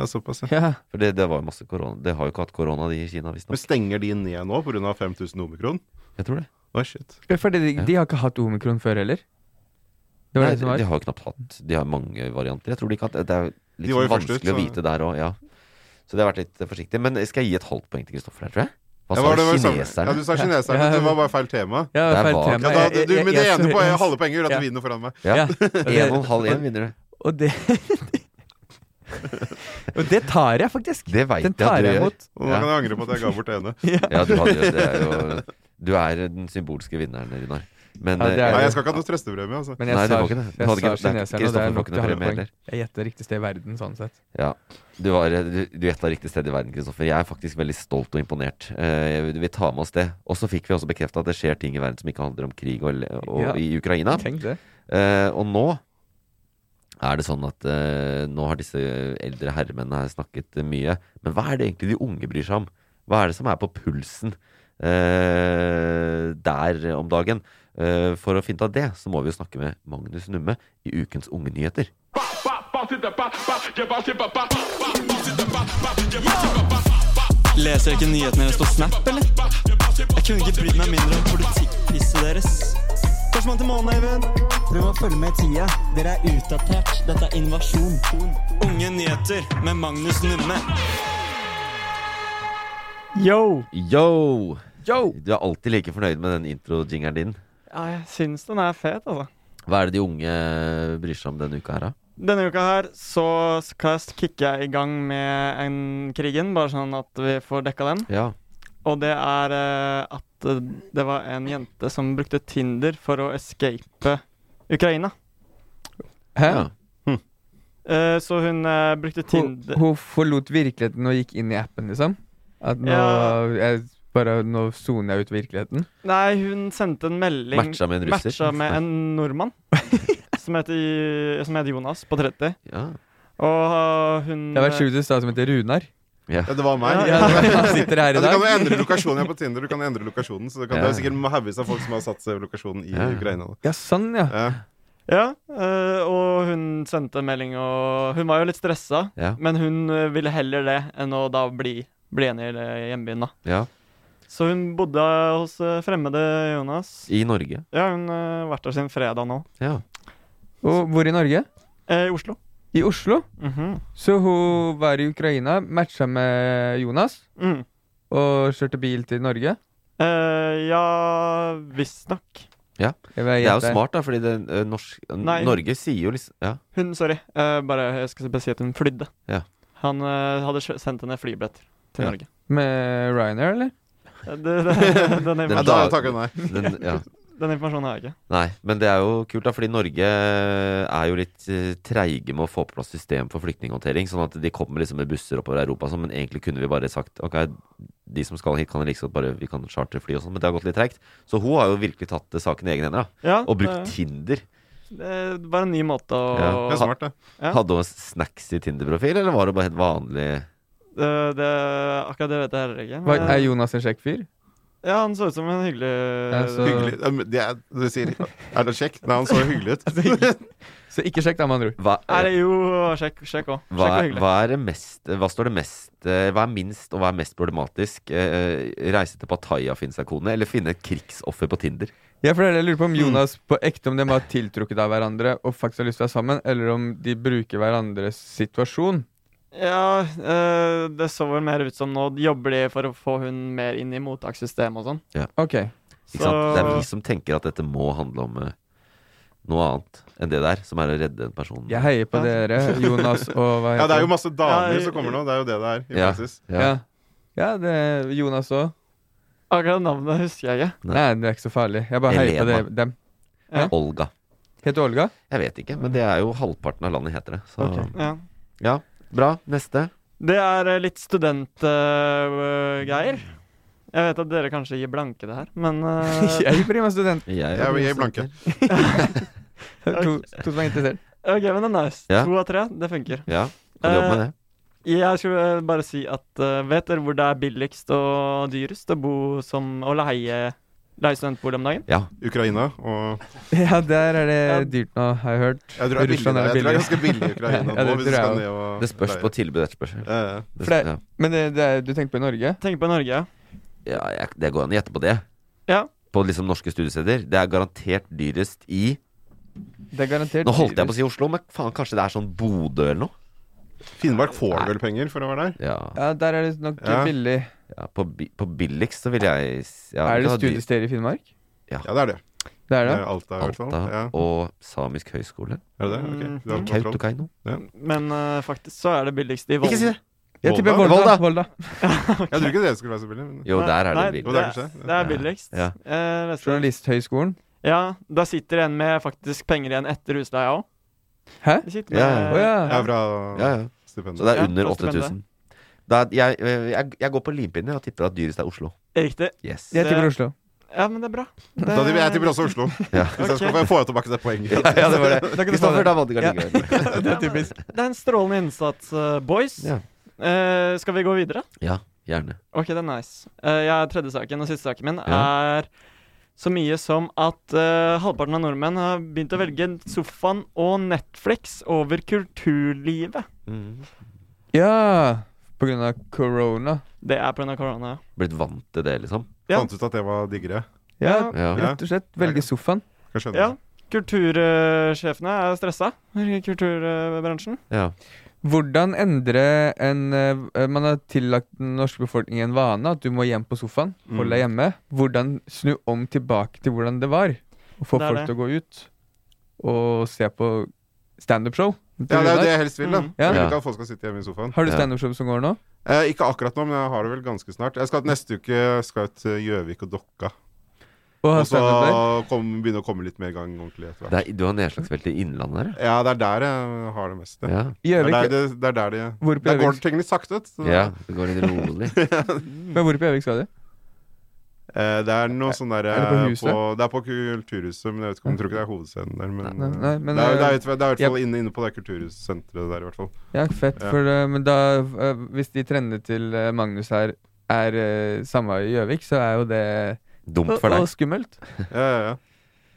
Speaker 4: Ja, såpass, ja.
Speaker 3: ja.
Speaker 2: For det, det var jo masse korona. Det har jo ikke hatt korona, de i Kina,
Speaker 4: Men
Speaker 2: visstnok.
Speaker 4: stenger de ned nå pga. 5000 omikron?
Speaker 2: Jeg tror det.
Speaker 4: Oi, shit.
Speaker 3: Fordi de, de har ikke hatt omikron før heller. Det var
Speaker 2: Nei,
Speaker 3: det som
Speaker 2: de,
Speaker 3: var.
Speaker 2: har jo knapt hatt De har mange varianter. Jeg tror de ikke at Det er litt
Speaker 4: De var jo
Speaker 2: sånn
Speaker 4: først
Speaker 2: vanskelig
Speaker 4: ut,
Speaker 2: å
Speaker 4: så-
Speaker 2: vite der òg, ja. Så det har vært litt eh, forsiktig. Men skal jeg gi et halvt poeng til Kristoffer her, tror jeg?
Speaker 4: Ja, var
Speaker 2: Hva sa
Speaker 4: det- var
Speaker 2: du?
Speaker 4: det samme- Ja,
Speaker 2: Kineserne?
Speaker 4: du sa kineserne. men Det var bare feil tema.
Speaker 3: Ja,
Speaker 2: Der
Speaker 3: feil
Speaker 2: var-
Speaker 3: tema.
Speaker 4: Ja, da,
Speaker 3: Jeg-
Speaker 4: du,
Speaker 3: jeg-
Speaker 4: men det
Speaker 3: jeg-
Speaker 4: ene
Speaker 3: jeg-
Speaker 4: på halve poenget gjør at
Speaker 3: Ja.
Speaker 4: du vinner foran meg.
Speaker 2: Ja.
Speaker 3: Ja,
Speaker 2: En og en
Speaker 3: og
Speaker 2: halv en vinner du.
Speaker 3: det, (laughs) og det tar jeg faktisk.
Speaker 2: Det veit
Speaker 3: Den
Speaker 2: jeg at
Speaker 3: tar
Speaker 2: du
Speaker 3: jeg
Speaker 2: gjør.
Speaker 3: imot.
Speaker 4: Og nå
Speaker 2: Ja.
Speaker 4: kan jeg angre på at jeg ga bort det ene.
Speaker 2: Ja, du, hadde jo, det er jo, du er den symbolske vinneren, Runar. Men
Speaker 3: Ja, det er
Speaker 2: eh,
Speaker 4: Nei,
Speaker 3: det.
Speaker 4: jeg skal ikke ha noe trøstepremie, altså.
Speaker 3: Men
Speaker 2: Nei, det
Speaker 3: jeg sa,
Speaker 2: var ikke det. Du hadde
Speaker 3: jeg sa
Speaker 2: ikke- det er ikke-
Speaker 3: kineserne, og det
Speaker 2: Kristoffer
Speaker 3: er
Speaker 2: får
Speaker 3: nok
Speaker 2: ikke
Speaker 3: til
Speaker 2: noe
Speaker 3: halve
Speaker 2: premie
Speaker 3: poeng.
Speaker 2: heller.
Speaker 3: Jeg gjetter riktig sted i verden, sånn sett.
Speaker 2: Ja, du, var, eh, du, du gjetta riktig sted i verden, Kristoffer. Jeg er faktisk veldig stolt og imponert. Eh, vi tar med oss det. Og så fikk vi også bekrefta at det skjer ting i verden som ikke handler om krig og, og,
Speaker 3: Ja.
Speaker 2: i Ukraina.
Speaker 3: Tenk det.
Speaker 2: Eh, og nå er det sånn at eh, nå har disse eldre herremennene her snakket eh, mye. Men hva er det egentlig de unge bryr seg om? Hva er det som er på pulsen eh, der om dagen? Eh, for å finne ut av det, så må vi jo snakke med Magnus Numme i ukens Unge nyheter.
Speaker 7: Leser dere ikke nyhetene deres på Snap, eller? Jeg kunne ikke brydd meg mindre om politikkpisset deres. Førstemann til månen, Eivind. Prøv å følge med i tida. Dere er utdatert. Dette er innovasjon. Unge nyheter med Magnus Numme.
Speaker 8: Yo!
Speaker 2: Yo!
Speaker 8: Yo!
Speaker 2: Du er alltid like fornøyd med den intro-jingeren din.
Speaker 8: Ja, jeg syns den er fet, altså.
Speaker 2: Hva er det de unge bryr seg om denne uka her, da?
Speaker 8: Denne uka her så skal jeg kicke jeg i gang med en krigen, bare sånn at vi får dekka den.
Speaker 2: Ja.
Speaker 8: Og det er eh, at eh, det var en jente som brukte Tinder for å escape Ukraina.
Speaker 3: Hæ?
Speaker 2: Ja.
Speaker 8: Eh, så hun eh, brukte
Speaker 3: Hun,
Speaker 8: Tinder
Speaker 3: hun forlot virkeligheten og gikk inn i appen, liksom? At nå
Speaker 8: Ja.
Speaker 3: jeg, Bare nå soner jeg ut virkeligheten?
Speaker 8: Nei, hun sendte en melding
Speaker 2: Matcha med en russer? (laughs)
Speaker 8: matcha med en nordmann. som heter, som heter Jonas, på 30.
Speaker 2: Ja.
Speaker 8: Og øh, hun
Speaker 3: Det har vært sjukt i stad som heter Runar.
Speaker 2: Ja.
Speaker 4: Ja, det var meg.
Speaker 3: Ja, han sitter her
Speaker 4: Ja,
Speaker 3: i dag.
Speaker 4: du kan jo endre lokasjonen jeg er på Tinder. Du kan endre lokasjonen Så det, kan,
Speaker 2: Ja.
Speaker 4: det er sikkert haugevis av folk som har satt seg lokasjonen i
Speaker 2: Ja.
Speaker 4: Ukraina. da.
Speaker 3: Ja, sånn, ja.
Speaker 8: Ja, øh, og hun sendte en melding, og hun var jo litt stressa,
Speaker 2: Ja.
Speaker 8: men hun øh, ville heller det enn å da bli, bli igjen i øh, hjembyen, da.
Speaker 2: Ja.
Speaker 8: Så hun bodde hos øh, fremmede Jonas.
Speaker 2: I Norge.
Speaker 8: Ja, hun har vært der siden fredag nå.
Speaker 2: Ja.
Speaker 3: Og hvor i Norge?
Speaker 8: Eh, I Oslo.
Speaker 3: I Oslo.
Speaker 8: Mhm.
Speaker 3: Så hun var i Ukraina, matcha med Jonas,
Speaker 8: Mm.
Speaker 3: og kjørte bil til Norge.
Speaker 8: Eh, ja, visstnok.
Speaker 2: Ja.
Speaker 3: Jeg
Speaker 2: Det
Speaker 3: vet
Speaker 2: er jo
Speaker 3: det.
Speaker 2: smart, da, fordi det, eh, norsk,
Speaker 8: Nei.
Speaker 2: Norge sier jo liksom Ja.
Speaker 8: Hun, sorry, eh, bare jeg skal bare si at hun flydde.
Speaker 2: Ja.
Speaker 8: Han eh, hadde kjø- sendt henne flybilletter til
Speaker 2: Ja.
Speaker 8: Norge.
Speaker 3: Med Ryanair, eller?
Speaker 8: Eh, Det, det, den,
Speaker 2: Den
Speaker 8: informasjonen-
Speaker 2: da-
Speaker 4: takker jeg
Speaker 2: Den, ja.
Speaker 8: (laughs) den informasjonen har jeg ikke.
Speaker 2: Nei, men det er jo kult, da, fordi Norge er jo litt eh, treige med å få på plass system for flyktninghåndtering. Sånn at de kommer liksom med busser oppover Europa og sånn, men egentlig kunne vi bare sagt ok, de som skal hit, kan like godt bare vi kan chartre fly og sånn, men det har gått litt treigt. Så hun har jo virkelig tatt eh, saken i egne hender, da.
Speaker 8: Ja,
Speaker 2: og brukt
Speaker 8: det-
Speaker 2: Tinder.
Speaker 8: Det var en ny måte å
Speaker 2: Ja. Det er smart,
Speaker 4: det.
Speaker 8: Ja.
Speaker 2: Hadde hun snacks i Tinder-profil, eller var det bare helt vanlig
Speaker 8: Eh, det, akkurat det vet jeg heller ikke.
Speaker 3: Hva,
Speaker 8: men-
Speaker 3: er Jonas en kjekk fyr?
Speaker 8: Eh, ja, han så ut som en hyggelig
Speaker 3: Ja, så-
Speaker 4: Hyggelig. Ja, men Det er, du sier Er det kjekt? Nei, han så jo hyggelig
Speaker 3: (laughs)
Speaker 4: ut.
Speaker 3: Så ikke sjekk, da, med andre ord.
Speaker 2: hva,
Speaker 8: Er det jo Sjekk sjekk òg. Sjekk
Speaker 2: hva,
Speaker 8: og
Speaker 2: er,
Speaker 8: hyggelig.
Speaker 2: hva er det mest Hva står det mest eh, Hva er minst, og hva er mest problematisk? Eh, reise til Pattaya, finne seg kone, eller finne et krigsoffer på Tinder?
Speaker 3: Ja, for det er det jeg lurer
Speaker 8: Mm.
Speaker 3: på om Jonas på ekte om de var tiltrukket av hverandre og faktisk har lyst til å være sammen, eller om de bruker hverandres situasjon.
Speaker 8: Ja, eh, det så vel mer ut som nå jobber de for å få hun mer inn i mottakssystemet og sånn.
Speaker 2: Ja.
Speaker 3: Ok.
Speaker 2: Ikke sant? Det er vi som tenker at dette må handle om eh, noe annet enn det der, som er å redde en person.
Speaker 3: Jeg heier på dere, Jonas og hva
Speaker 4: (laughs) Ja, det er jo
Speaker 3: heter
Speaker 4: masse damer som kommer nå. Det er jo det det er i
Speaker 2: Ja.
Speaker 4: praksis.
Speaker 3: Ja.
Speaker 2: Ja.
Speaker 3: ja, det er Jonas òg.
Speaker 8: Akkurat navnet husker jeg ikke.
Speaker 2: Nei.
Speaker 3: Nei. det er ikke så farlig. Jeg bare heier på
Speaker 2: Elena.
Speaker 3: dere, dem.
Speaker 2: Olga.
Speaker 3: Heter Olga?
Speaker 2: Jeg vet ikke, men det er jo halvparten av landet heter det. Så
Speaker 8: Ja.
Speaker 2: ja, bra. Neste.
Speaker 8: Det er eh, litt studentgreier. jeg vet at dere kanskje gir blanke det her,
Speaker 3: (laughs)
Speaker 8: men eh,
Speaker 3: Jeg blir med student.
Speaker 2: Jeg,
Speaker 4: Jeg er jeg er blanke.
Speaker 3: To, to som er interessert.
Speaker 8: OK, men det er nice.
Speaker 2: Ja.
Speaker 8: To av tre, det funker.
Speaker 2: Ja, kan du jobbe med det?
Speaker 8: Jeg skulle eh, bare si at eh, vet dere hvor det er billigst og dyrest å bo som å leie, leie studentbolig om dagen?
Speaker 2: Ja.
Speaker 4: Ukraina og
Speaker 3: Ja, der er det dyrt nå, har jeg hørt.
Speaker 4: Jeg tror det er billig.
Speaker 3: Russland
Speaker 4: Jeg
Speaker 3: er
Speaker 4: tror det er
Speaker 3: billig.
Speaker 4: ganske billig i
Speaker 3: (laughs)
Speaker 4: Ukraina
Speaker 3: Ja,
Speaker 4: nå,
Speaker 3: det
Speaker 4: hvis du
Speaker 3: tror jeg
Speaker 4: skal
Speaker 3: også.
Speaker 4: ned
Speaker 8: Eh,
Speaker 4: og
Speaker 2: Det spørs på tilbud og etterspørsel.
Speaker 4: Ja, ja.
Speaker 2: Det-
Speaker 3: For det-
Speaker 2: ja.
Speaker 3: Men det, det er, du tenker på i Norge?
Speaker 8: Tenk på Norge.
Speaker 2: Ja, jeg, det går an å gjette på det.
Speaker 8: Ja.
Speaker 2: På liksom norske studiesteder. Det er garantert dyrest i
Speaker 3: Det er garantert
Speaker 2: Nå holdt jeg på å si Oslo, men faen, kanskje det er sånn Bodø eller noe?
Speaker 4: Finnmark får vel penger for å være der?
Speaker 2: Ja,
Speaker 3: Ja, der er det nok
Speaker 4: Ja.
Speaker 3: billig.
Speaker 2: ja på, bi- på billigst så vil jeg s- ja,
Speaker 3: Er det
Speaker 2: da, de-
Speaker 3: studiesteder i Finnmark?
Speaker 4: Ja, det er det.
Speaker 3: Det er
Speaker 4: det
Speaker 3: det.
Speaker 4: er Alta, i hvert fall.
Speaker 2: Alta
Speaker 4: Ja.
Speaker 2: og Samisk høgskole?
Speaker 4: Er det det? Ok. Du har kontroll.
Speaker 2: Kautokeino?
Speaker 8: Men eh, faktisk så er det billigst i Volda.
Speaker 2: Ikke si det!
Speaker 3: Jeg tipper
Speaker 4: Volda?
Speaker 3: Volda. Volda.
Speaker 4: Jeg tror ikke det skulle være så billig. Men...
Speaker 2: Jo, der er det
Speaker 8: Nei,
Speaker 2: billig.
Speaker 4: Jo,
Speaker 8: det,
Speaker 4: det er
Speaker 8: er,
Speaker 4: kanskje det.
Speaker 8: det er
Speaker 2: Ja.
Speaker 8: billigst.
Speaker 2: Ja.
Speaker 8: Eh, leste-
Speaker 3: Journalisthøgskolen.
Speaker 8: ja, da sitter en med faktisk penger igjen etter husleia òg.
Speaker 3: Hæ?
Speaker 2: Ja,
Speaker 3: Å ja.
Speaker 4: Det er fra
Speaker 2: Ja, ja. Så
Speaker 4: stipendet.
Speaker 2: det er
Speaker 8: Ja,
Speaker 2: under
Speaker 8: fra stipendet.
Speaker 2: 8000. Da, jeg, jeg, jeg går på limpinnen og tipper at dyrest er Oslo.
Speaker 8: Riktig.
Speaker 2: Yes.
Speaker 3: Jeg tipper
Speaker 8: Det-
Speaker 3: Oslo.
Speaker 8: Ja, men det er bra. Det,
Speaker 4: Da tipper jeg tipper også Oslo.
Speaker 2: Ja.
Speaker 4: Hvis jeg skal få- få tilbake det (laughs) poenget.
Speaker 2: Ja, det var det.
Speaker 3: Da kan du få
Speaker 2: Kristoffer,
Speaker 3: det.
Speaker 2: da vant du
Speaker 3: Ja.
Speaker 2: garantert.
Speaker 8: det, er, (laughs) det er en strålende innsats, eh, boys.
Speaker 2: Ja.
Speaker 8: Eh, skal vi gå videre?
Speaker 2: ja, gjerne.
Speaker 8: Ok, det er nice. Eh, jeg er tredje saken, og siste saken min
Speaker 2: Ja.
Speaker 8: er så mye som at eh, halvparten av nordmenn har begynt å
Speaker 2: Mm.
Speaker 8: velge sofaen og Netflix over kulturlivet.
Speaker 2: Mm.
Speaker 3: Ja, på grunn av corona.
Speaker 8: Det er pga. korona.
Speaker 2: Blitt vant til det, liksom.
Speaker 8: Ja.
Speaker 4: Fant ut at det var diggere.
Speaker 3: Ja,
Speaker 2: Ja.
Speaker 3: rett og slett. Velge sofaen.
Speaker 4: Kan skjønne
Speaker 8: Ja.
Speaker 4: det.
Speaker 8: Kultursjefene er stressa i kulturbransjen.
Speaker 2: Ja.
Speaker 3: Hvordan endre en eh, Man har tillagt den norske befolkningen en vane at du må hjem på sofaen.
Speaker 4: Mm.
Speaker 3: Hold deg hjemme. Hvordan snu om tilbake til hvordan det var. Og få
Speaker 8: Det er
Speaker 3: folk
Speaker 8: det.
Speaker 3: til å gå ut og se på standup-show.
Speaker 4: Ja, det er jo det jeg helst vil, da.
Speaker 8: Mm.
Speaker 3: Ja.
Speaker 4: Jeg vil ikke at folk skal sitte hjemme i sofaen.
Speaker 3: Har du
Speaker 2: Ja.
Speaker 3: standup-show som går nå?
Speaker 4: Eh, ikke akkurat nå, men jeg har det vel ganske snart. Jeg skal Neste uke skal jeg til Gjøvik og Dokka.
Speaker 3: Og
Speaker 4: Og
Speaker 3: har
Speaker 4: så
Speaker 3: standup der?
Speaker 4: kom, begynne å komme litt mer i gang ordentlig etter hvert.
Speaker 2: Det er, du har nedslagsfelt i Innlandet her,
Speaker 4: Ja, det er der jeg har det meste.
Speaker 2: ja?
Speaker 4: Det, er
Speaker 3: Gjøvik,
Speaker 4: der det, det er der det
Speaker 3: Hvor på
Speaker 4: Der går
Speaker 3: Gjøvik?
Speaker 4: det tingene sakte. ut, så-
Speaker 2: Ja, det går litt rolig.
Speaker 3: Men hvor på Gjøvik skal du?
Speaker 4: Eh, det er noe sånn der,
Speaker 3: er det på
Speaker 4: eh,
Speaker 3: huset?
Speaker 4: det er på Kulturhuset, men jeg vet ikke om jeg tror ikke det er hovedscenen der. Men,
Speaker 3: Nei, nei,
Speaker 4: eh,
Speaker 3: men,
Speaker 4: det er, det er,
Speaker 3: eh,
Speaker 4: det er, i hvert
Speaker 3: jeg-
Speaker 4: fall inne, inne på det kulturhussenteret der, i hvert fall.
Speaker 3: Ja, fett.
Speaker 4: Ja.
Speaker 3: For, eh, men da, eh, hvis de trendene til eh, Magnus her er eh, samme i Gjøvik, så er jo det
Speaker 2: Dumt for
Speaker 3: og,
Speaker 2: deg.
Speaker 3: Og skummelt.
Speaker 4: Ja, ja, ja.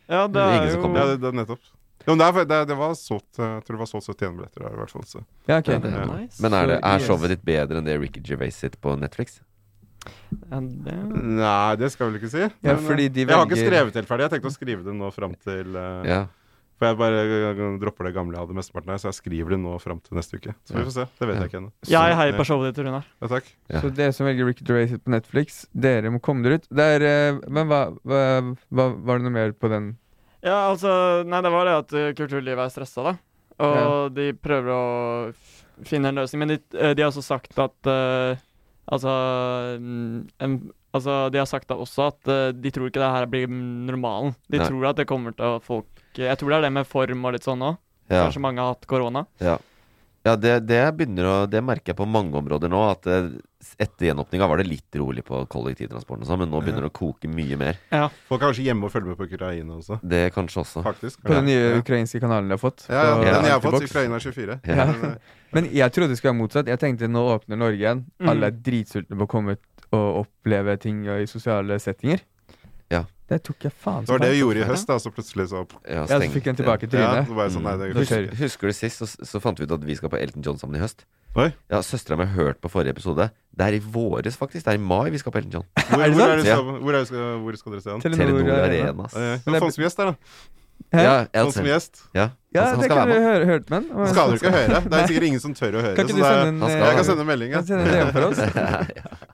Speaker 8: Ja, det er jo
Speaker 4: Ja, det, det er nettopp. Jo, men det, er, det, det var solgt eh, Jeg tror det var solgt 71 billetter der, i hvert fall. Så.
Speaker 3: Ja, ok.
Speaker 2: Ja, det er,
Speaker 8: Nice.
Speaker 2: Men er, det,
Speaker 8: Så,
Speaker 2: er
Speaker 8: yes.
Speaker 2: showet ditt bedre enn det Ricky Gervais sitt på Netflix?
Speaker 8: Ja, det-
Speaker 4: Nei, det skal jeg vel ikke si.
Speaker 3: Ja,
Speaker 4: Men,
Speaker 3: fordi
Speaker 4: eh,
Speaker 3: de
Speaker 4: Jeg har ikke
Speaker 3: velger-
Speaker 4: skrevet helt ferdig. Jeg tenkte å skrive det nå fram til eh,
Speaker 2: Ja.
Speaker 4: For jeg bare eh, dropper det gamle jeg hadde mesteparten her, så jeg skriver det nå fram til neste uke. Så
Speaker 2: Ja.
Speaker 4: vi får se. Det vet
Speaker 2: Ja.
Speaker 4: jeg ikke ennå. eh,
Speaker 8: Jeg heier på showet ditt, Runar.
Speaker 4: Ja, takk.
Speaker 2: Ja.
Speaker 3: Så dere som velger Ricky Drace på Netflix, dere må komme dere ut. Det er, eh, men hva, hva, hva Var det noe mer på den?
Speaker 8: Ja, altså Nei, det var det at eh, kulturlivet er stressa, da. Og de prøver å f- finne en løsning. Men de, eh, de har også sagt at eh, Altså mm, en, Altså, De har sagt da også at eh, de tror ikke det her blir mm, normalen. De
Speaker 2: Nei.
Speaker 8: tror at det kommer til at folk Jeg tror det er det med form og litt sånn òg.
Speaker 2: Ja.
Speaker 8: Kanskje mange har hatt korona.
Speaker 2: Ja, ja det, det, begynner å, det merker jeg på mange områder nå. At eh, etter gjenåpninga var det litt rolig på kollektivtransporten, og sånn, men nå begynner det å koke mye mer.
Speaker 8: Ja.
Speaker 4: Folk er kanskje hjemme og følger med på Ukraina også.
Speaker 2: Det kanskje også.
Speaker 4: Faktisk.
Speaker 3: På den nye
Speaker 4: Ja.
Speaker 3: ukrainske kanalen de har fått?
Speaker 4: Ja, ja,
Speaker 3: på
Speaker 4: den jeg har
Speaker 3: Altibox.
Speaker 4: fått, Ukraina 24.
Speaker 2: Ja.
Speaker 4: Men, eh,
Speaker 3: Men jeg trodde det skulle være motsatt. Jeg tenkte nå åpner Norge igjen.
Speaker 8: Mm.
Speaker 3: Alle er dritsultne på å komme ut og oppleve ting og i sosiale settinger.
Speaker 2: Ja.
Speaker 3: Det tok jeg faen
Speaker 4: Det var det vi gjorde i høst, da, så plutselig så
Speaker 2: Ja,
Speaker 3: Ja, så
Speaker 2: stengt.
Speaker 3: fikk jeg den tilbake i
Speaker 4: Ja,
Speaker 3: trynet.
Speaker 4: så var jeg sånn, nei, det
Speaker 3: Da
Speaker 4: er
Speaker 3: kjører vi.
Speaker 2: Husker, husker du sist, så, så fant vi ut at vi skal på Elton John sammen i høst.
Speaker 4: Oi.
Speaker 2: Ja, Søstera mi hørte på forrige episode. Det er i våres, faktisk. Det er i mai vi skal på Elton John.
Speaker 4: Hvor,
Speaker 3: Er det
Speaker 4: hvor,
Speaker 3: sant?
Speaker 4: er det,
Speaker 2: Ja.
Speaker 4: som- hvor, er det, skal- hvor skal dere se han?
Speaker 3: Telenor
Speaker 2: Telenor
Speaker 3: Arena.
Speaker 2: Arena. ass.
Speaker 4: Oi, oi.
Speaker 3: Men det-
Speaker 4: Ja, Faen som gjest der, da.
Speaker 3: Hæ?
Speaker 2: Ja,
Speaker 4: Faen som
Speaker 2: Elton.
Speaker 4: gjest.
Speaker 2: Ja, Altså,
Speaker 3: Ja,
Speaker 2: han, han
Speaker 3: det
Speaker 2: skal
Speaker 3: kunne
Speaker 2: være
Speaker 3: du
Speaker 2: med.
Speaker 3: høre, hørt med.
Speaker 4: Han Skal dere ikke høre? Det er sikkert ingen som tør å høre.
Speaker 3: Kan
Speaker 4: så
Speaker 3: ikke du
Speaker 4: det er-
Speaker 3: sende en,
Speaker 2: Han skal
Speaker 3: eh,
Speaker 4: jeg kan sende en melding,
Speaker 3: kan
Speaker 4: jeg.
Speaker 3: du sende en DM
Speaker 2: (laughs)
Speaker 3: for oss?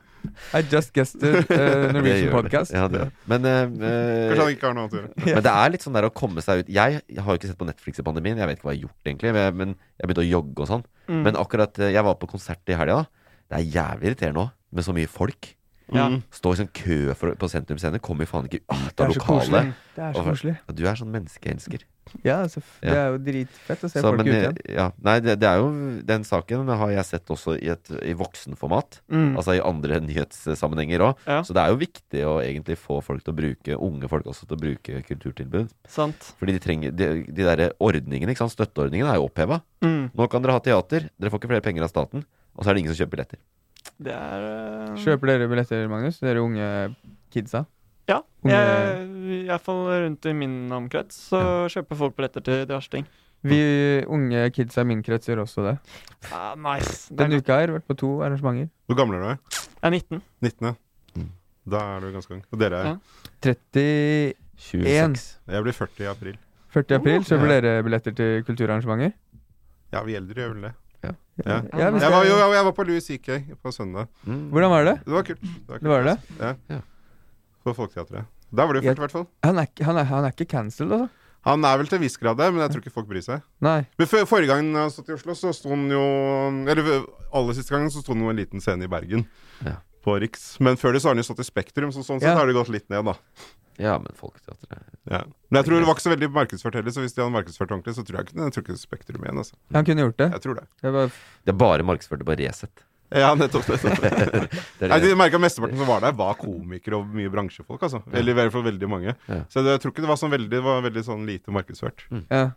Speaker 3: I just guested uh,
Speaker 2: Det
Speaker 3: Norwegian
Speaker 2: gjør det.
Speaker 3: Podcast.
Speaker 2: Ja, det. Men, eh, eh,
Speaker 4: Kanskje han ikke har noe annet å gjøre.
Speaker 2: Men det er litt sånn der å komme seg ut Jeg har jo ikke sett på Netflix i pandemien, jeg vet ikke hva jeg har gjort egentlig, men jeg- men jeg begynte å jogge og sånn.
Speaker 8: Mm.
Speaker 2: Men akkurat eh, jeg var på konsert i helga, da. Det er jævlig irriterende òg, med så mye folk.
Speaker 8: Ja.
Speaker 4: Mm.
Speaker 2: Stå i sånn kø for, å- på Sentrum Scene, kommer jo faen ikke ut
Speaker 3: Det
Speaker 2: av
Speaker 3: er så koselig.
Speaker 2: lokalet.
Speaker 3: Det er så
Speaker 2: Og-
Speaker 3: koselig.
Speaker 2: Og Du er sånn menneskeelsker.
Speaker 3: Ja, altså, f-
Speaker 2: Ja.
Speaker 3: det er jo dritfett å se
Speaker 2: Så,
Speaker 3: folk
Speaker 2: men,
Speaker 3: ute
Speaker 2: eh,
Speaker 3: igjen.
Speaker 2: ja, nei, det, det er jo Den saken har jeg sett også i, et, i voksenformat.
Speaker 8: Mm.
Speaker 2: Altså i andre (laughs) nyhetssammenhenger òg.
Speaker 8: Ja.
Speaker 2: Så det er jo viktig å egentlig få folk til å bruke unge folk også til å bruke kulturtilbud.
Speaker 8: Sant.
Speaker 2: Fordi de trenger De, de der ordningene, ikke sant? støtteordningene er jo oppheva.
Speaker 8: Mm.
Speaker 2: Nå kan dere ha teater, dere får ikke flere penger av staten. Og så er det ingen som kjøper billetter.
Speaker 8: Det er eh,
Speaker 3: Kjøper dere billetter, Magnus? Dere unge kidsa?
Speaker 8: Ja.
Speaker 3: Unge-
Speaker 8: Jeg, I hvert fall rundt i min omkrets så kjøper folk billetter til diverse ting.
Speaker 3: Vi unge kidsa i min krets gjør også det.
Speaker 8: Ah, nice. Det er
Speaker 3: Denne
Speaker 8: godt.
Speaker 3: uka her vært på to arrangementer.
Speaker 4: Hvor gammel er du?
Speaker 8: Jeg er 19.
Speaker 4: 19, ja. Da er du ganske ung. Og dere er
Speaker 8: Ja.
Speaker 3: 31.
Speaker 2: 26.
Speaker 4: Jeg blir 40 i april.
Speaker 3: 40.
Speaker 8: Oh.
Speaker 3: april kjøper
Speaker 4: Ja.
Speaker 3: dere billetter til kulturarrangementer.
Speaker 4: Ja, vi eldre gjør vel det. Ja.
Speaker 3: Ja.
Speaker 8: Ja,
Speaker 3: hvis
Speaker 4: Jeg var, jo,
Speaker 3: dere-
Speaker 4: jeg var på Louis CK på søndag.
Speaker 2: Mm.
Speaker 3: Hvordan var det?
Speaker 4: Det var kult. Det var, kult.
Speaker 3: Det var det?
Speaker 8: Altså-
Speaker 4: Ja.
Speaker 2: Ja.
Speaker 4: På Folketeatret. Der var det jo fullt, i hvert fall.
Speaker 3: Han er, ikke- han er, han er ikke cancelled, altså?
Speaker 4: Han er vel til en viss grad det, men jeg tror ikke folk bryr seg.
Speaker 3: Nei.
Speaker 4: Men for, Forrige gang jeg satt i Oslo, så sto han jo Eller aller siste gangen så sto han jo en liten scene i Bergen.
Speaker 2: Ja.
Speaker 4: På Riks. Men før det så har han jo stått i Spektrum, så sånn sett
Speaker 3: Ja.
Speaker 4: har det gått litt ned, da.
Speaker 2: Ja, men folketeatret
Speaker 4: Ja. Men jeg tror det var ikke så veldig markedsført heller, så hvis de hadde markedsført ordentlig, så tror jeg ikke, jeg tror ikke Spektrum igjen, altså.
Speaker 3: Han kunne gjort det.
Speaker 4: Jeg tror det.
Speaker 3: Jeg bare,
Speaker 2: Det er bare markedsført på Resett.
Speaker 4: Ja, nettopp. nettopp.
Speaker 2: (laughs) Det er
Speaker 4: Nei,
Speaker 2: det.
Speaker 4: de merket at Mesteparten som var der, var komikere og mye bransjefolk. altså Eller i hvert fall veldig mange.
Speaker 2: Ja. Mm.
Speaker 4: Så det, jeg tror ikke det var sånn veldig, det var veldig sånn lite markedsført.
Speaker 3: ja.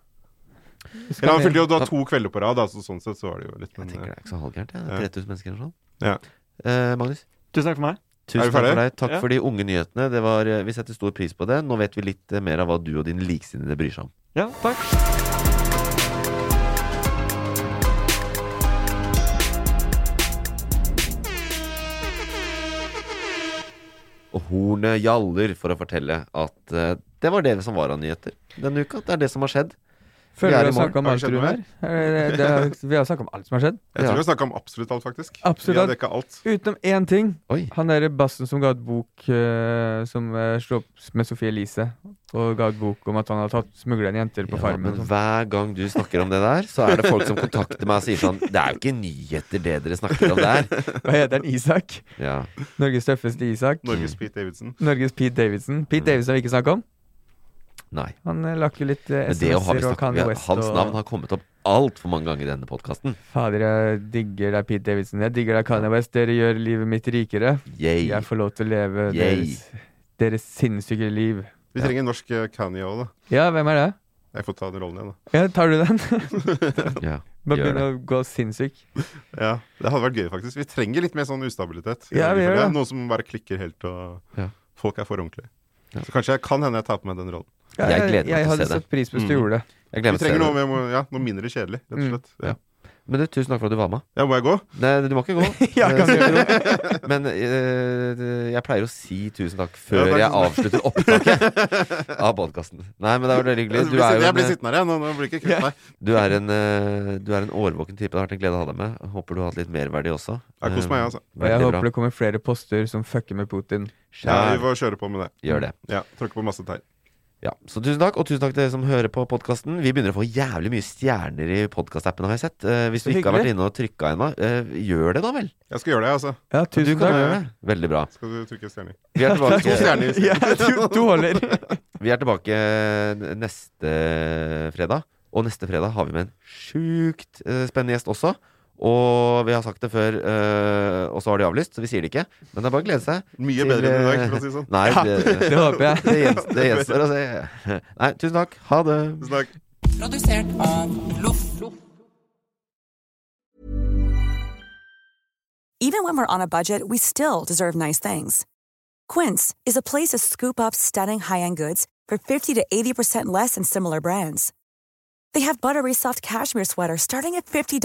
Speaker 4: Eller han fylte jo da to kvelder på rad, da, så sånn sett så var det jo litt
Speaker 2: Jeg
Speaker 4: men,
Speaker 2: tenker det
Speaker 4: eh,
Speaker 2: er ikke så halvgærent. Ja. Det
Speaker 4: Ja.
Speaker 2: er 3000 mennesker eller sånn.
Speaker 4: Ja.
Speaker 2: Eh, Magnus,
Speaker 8: Tusen takk for meg.
Speaker 2: tusen
Speaker 4: Er vi
Speaker 2: takk for
Speaker 4: ferdige?
Speaker 2: deg. Takk
Speaker 8: Ja.
Speaker 2: for de unge nyhetene. Det var, eh, vi setter stor pris på det. Nå vet vi litt eh, mer av hva du og din liksinnede bryr seg om.
Speaker 8: Ja, takk.
Speaker 2: Og hornet gjaller for å fortelle at eh, det var det som var av nyheter denne uka. Det er det som har skjedd. Vi er
Speaker 3: Føler dere
Speaker 2: i
Speaker 3: å
Speaker 2: morgen.
Speaker 3: snakke om
Speaker 4: Har det
Speaker 3: alt,
Speaker 4: skjedd noe
Speaker 3: Runar? Er det- det
Speaker 2: (laughs)
Speaker 3: er- Vi har snakka om alt som har skjedd.
Speaker 4: Jeg tror
Speaker 2: Ja.
Speaker 4: vi snakka om absolutt alt, faktisk. Vi
Speaker 3: Absolutt
Speaker 4: har
Speaker 3: alt.
Speaker 4: dekka alt.
Speaker 3: Utenom én ting.
Speaker 2: Oi.
Speaker 3: Han derre bassen som ga ut bok eh, som uh, slo opp med Sophie Elise, og ga ut bok om at han hadde smugla inn jenter
Speaker 2: Ja,
Speaker 3: på farmen.
Speaker 2: men
Speaker 3: og sånt.
Speaker 2: hver gang du snakker om det der, så er det folk som kontakter meg og sier sånn Det er jo ikke nyheter det dere snakker om der.
Speaker 3: (laughs) Hva heter han? Isak?
Speaker 2: Ja.
Speaker 3: Norges tøffeste Isak.
Speaker 2: Mm.
Speaker 4: Norges Pete Davidson.
Speaker 3: Norges Pete Davidson. Pete Davidson har vi ikke snakka om.
Speaker 2: Nei.
Speaker 3: Han uh, lakk jo litt eh,
Speaker 2: Men det har vi
Speaker 3: SMS-er og
Speaker 2: snakket om.
Speaker 3: Kanye
Speaker 2: Vi har-
Speaker 3: West.
Speaker 2: Hans
Speaker 3: og-
Speaker 2: navn har kommet opp altfor mange ganger i denne podkasten.
Speaker 3: Fader, jeg digger deg, Pete Davidson. Jeg digger deg, Kanye West. Dere gjør livet mitt rikere.
Speaker 2: Yay.
Speaker 3: Jeg får lov til å leve
Speaker 2: Yay.
Speaker 3: deres deres sinnssyke liv.
Speaker 4: Vi trenger en norsk eh, Kanye òg, da.
Speaker 3: Ja, hvem er det?
Speaker 4: Jeg får ta den rollen igjen, da.
Speaker 3: Ja, tar du den? (laughs)
Speaker 2: Ja,
Speaker 3: Bare
Speaker 2: gjør
Speaker 3: begynne å gå sinnssyk.
Speaker 4: Ja, Det hadde vært gøy, faktisk. Vi trenger litt mer sånn ustabilitet. i
Speaker 3: Ja,
Speaker 4: Norge, for
Speaker 3: vi gjør
Speaker 4: det er
Speaker 3: det.
Speaker 4: Noen som bare klikker helt, og
Speaker 2: Ja.
Speaker 4: folk er for ordentlige.
Speaker 2: Ja.
Speaker 4: Så kanskje jeg kan hende jeg tar på meg den rollen.
Speaker 3: Ja, Jeg jeg- gleder meg jeg til å hadde se det. Mm. satt pris på hvis du gjorde (laughs) det.
Speaker 2: Jeg
Speaker 4: Vi
Speaker 2: gleder meg til å se
Speaker 4: trenger noe, mer, mo- ja, noe mindre kjedelig, rett
Speaker 2: Mm.
Speaker 4: og slett. Ja.
Speaker 2: Men du, tusen takk for at du var med.
Speaker 4: Ja, må jeg gå?
Speaker 2: Nei, du må ikke gå.
Speaker 3: (laughs)
Speaker 4: Ja, jeg kan ikke
Speaker 2: Eh, Men eh, det- jeg pleier å si tusen takk før
Speaker 4: Ja,
Speaker 2: jeg
Speaker 4: takk.
Speaker 2: avslutter opptaket av podkasten. Nei, men det var veldig hyggelig.
Speaker 4: Jeg blir sittende- jeg blir sittende her, jeg. Nå- nå blir jeg ikke kvitt
Speaker 2: Ja. (laughs)
Speaker 4: meg.
Speaker 2: Du er en, eh, du er en årvåken type. Det har vært en glede å ha deg med. Håper du har hatt litt merverdi også. Eh,
Speaker 4: Jeg koser meg, altså.
Speaker 3: Og jeg håper det kommer flere poster som fucker med Putin.
Speaker 4: Ja, vi får kjøre på med det.
Speaker 2: Gjør det.
Speaker 4: Ja, Tråkke på masse tær.
Speaker 2: Ja, så tusen takk, og tusen takk til dere som hører på podkasten. Vi begynner å få jævlig mye stjerner i podkastappen, har jeg sett. Eh, hvis
Speaker 4: Så
Speaker 2: du ikke har vært
Speaker 4: hyggelig.
Speaker 2: inne og trykka ennå, eh, gjør det da vel.
Speaker 4: Jeg skal gjøre det, altså.
Speaker 3: Ja, tusen
Speaker 2: du kan
Speaker 3: takk.
Speaker 2: gjøre det. Veldig bra.
Speaker 4: Skal du trykke stjerner?
Speaker 2: Vi
Speaker 4: (laughs)
Speaker 2: er
Speaker 3: (laughs)
Speaker 2: tilbake.
Speaker 4: To stjerner.
Speaker 2: Vi er tilbake eh, neste fredag. Og neste fredag har vi med en sjukt eh, spennende gjest også. Og vi har sagt det før, eh, og så har de avlyst, så vi sier det ikke. Men det er bare å glede seg.
Speaker 4: Mye
Speaker 2: til,
Speaker 4: bedre enn i dag,
Speaker 2: eh,
Speaker 4: for å si det sånn.
Speaker 2: (laughs) Nei,
Speaker 4: Ja,
Speaker 2: det,
Speaker 4: det håper jeg.
Speaker 2: Det gjens- det gjenstår å se.
Speaker 4: (laughs)
Speaker 2: Nei, tusen takk. Ha det.
Speaker 4: Tusen takk.
Speaker 9: Produsert av Loff.
Speaker 5: Even when we're on a budget, we still deserve nice things. Quince is a place to scoop up stunning high-end goods for 50 to 80% less than similar brands. They have buttery soft cashmere sweaters starting at $50,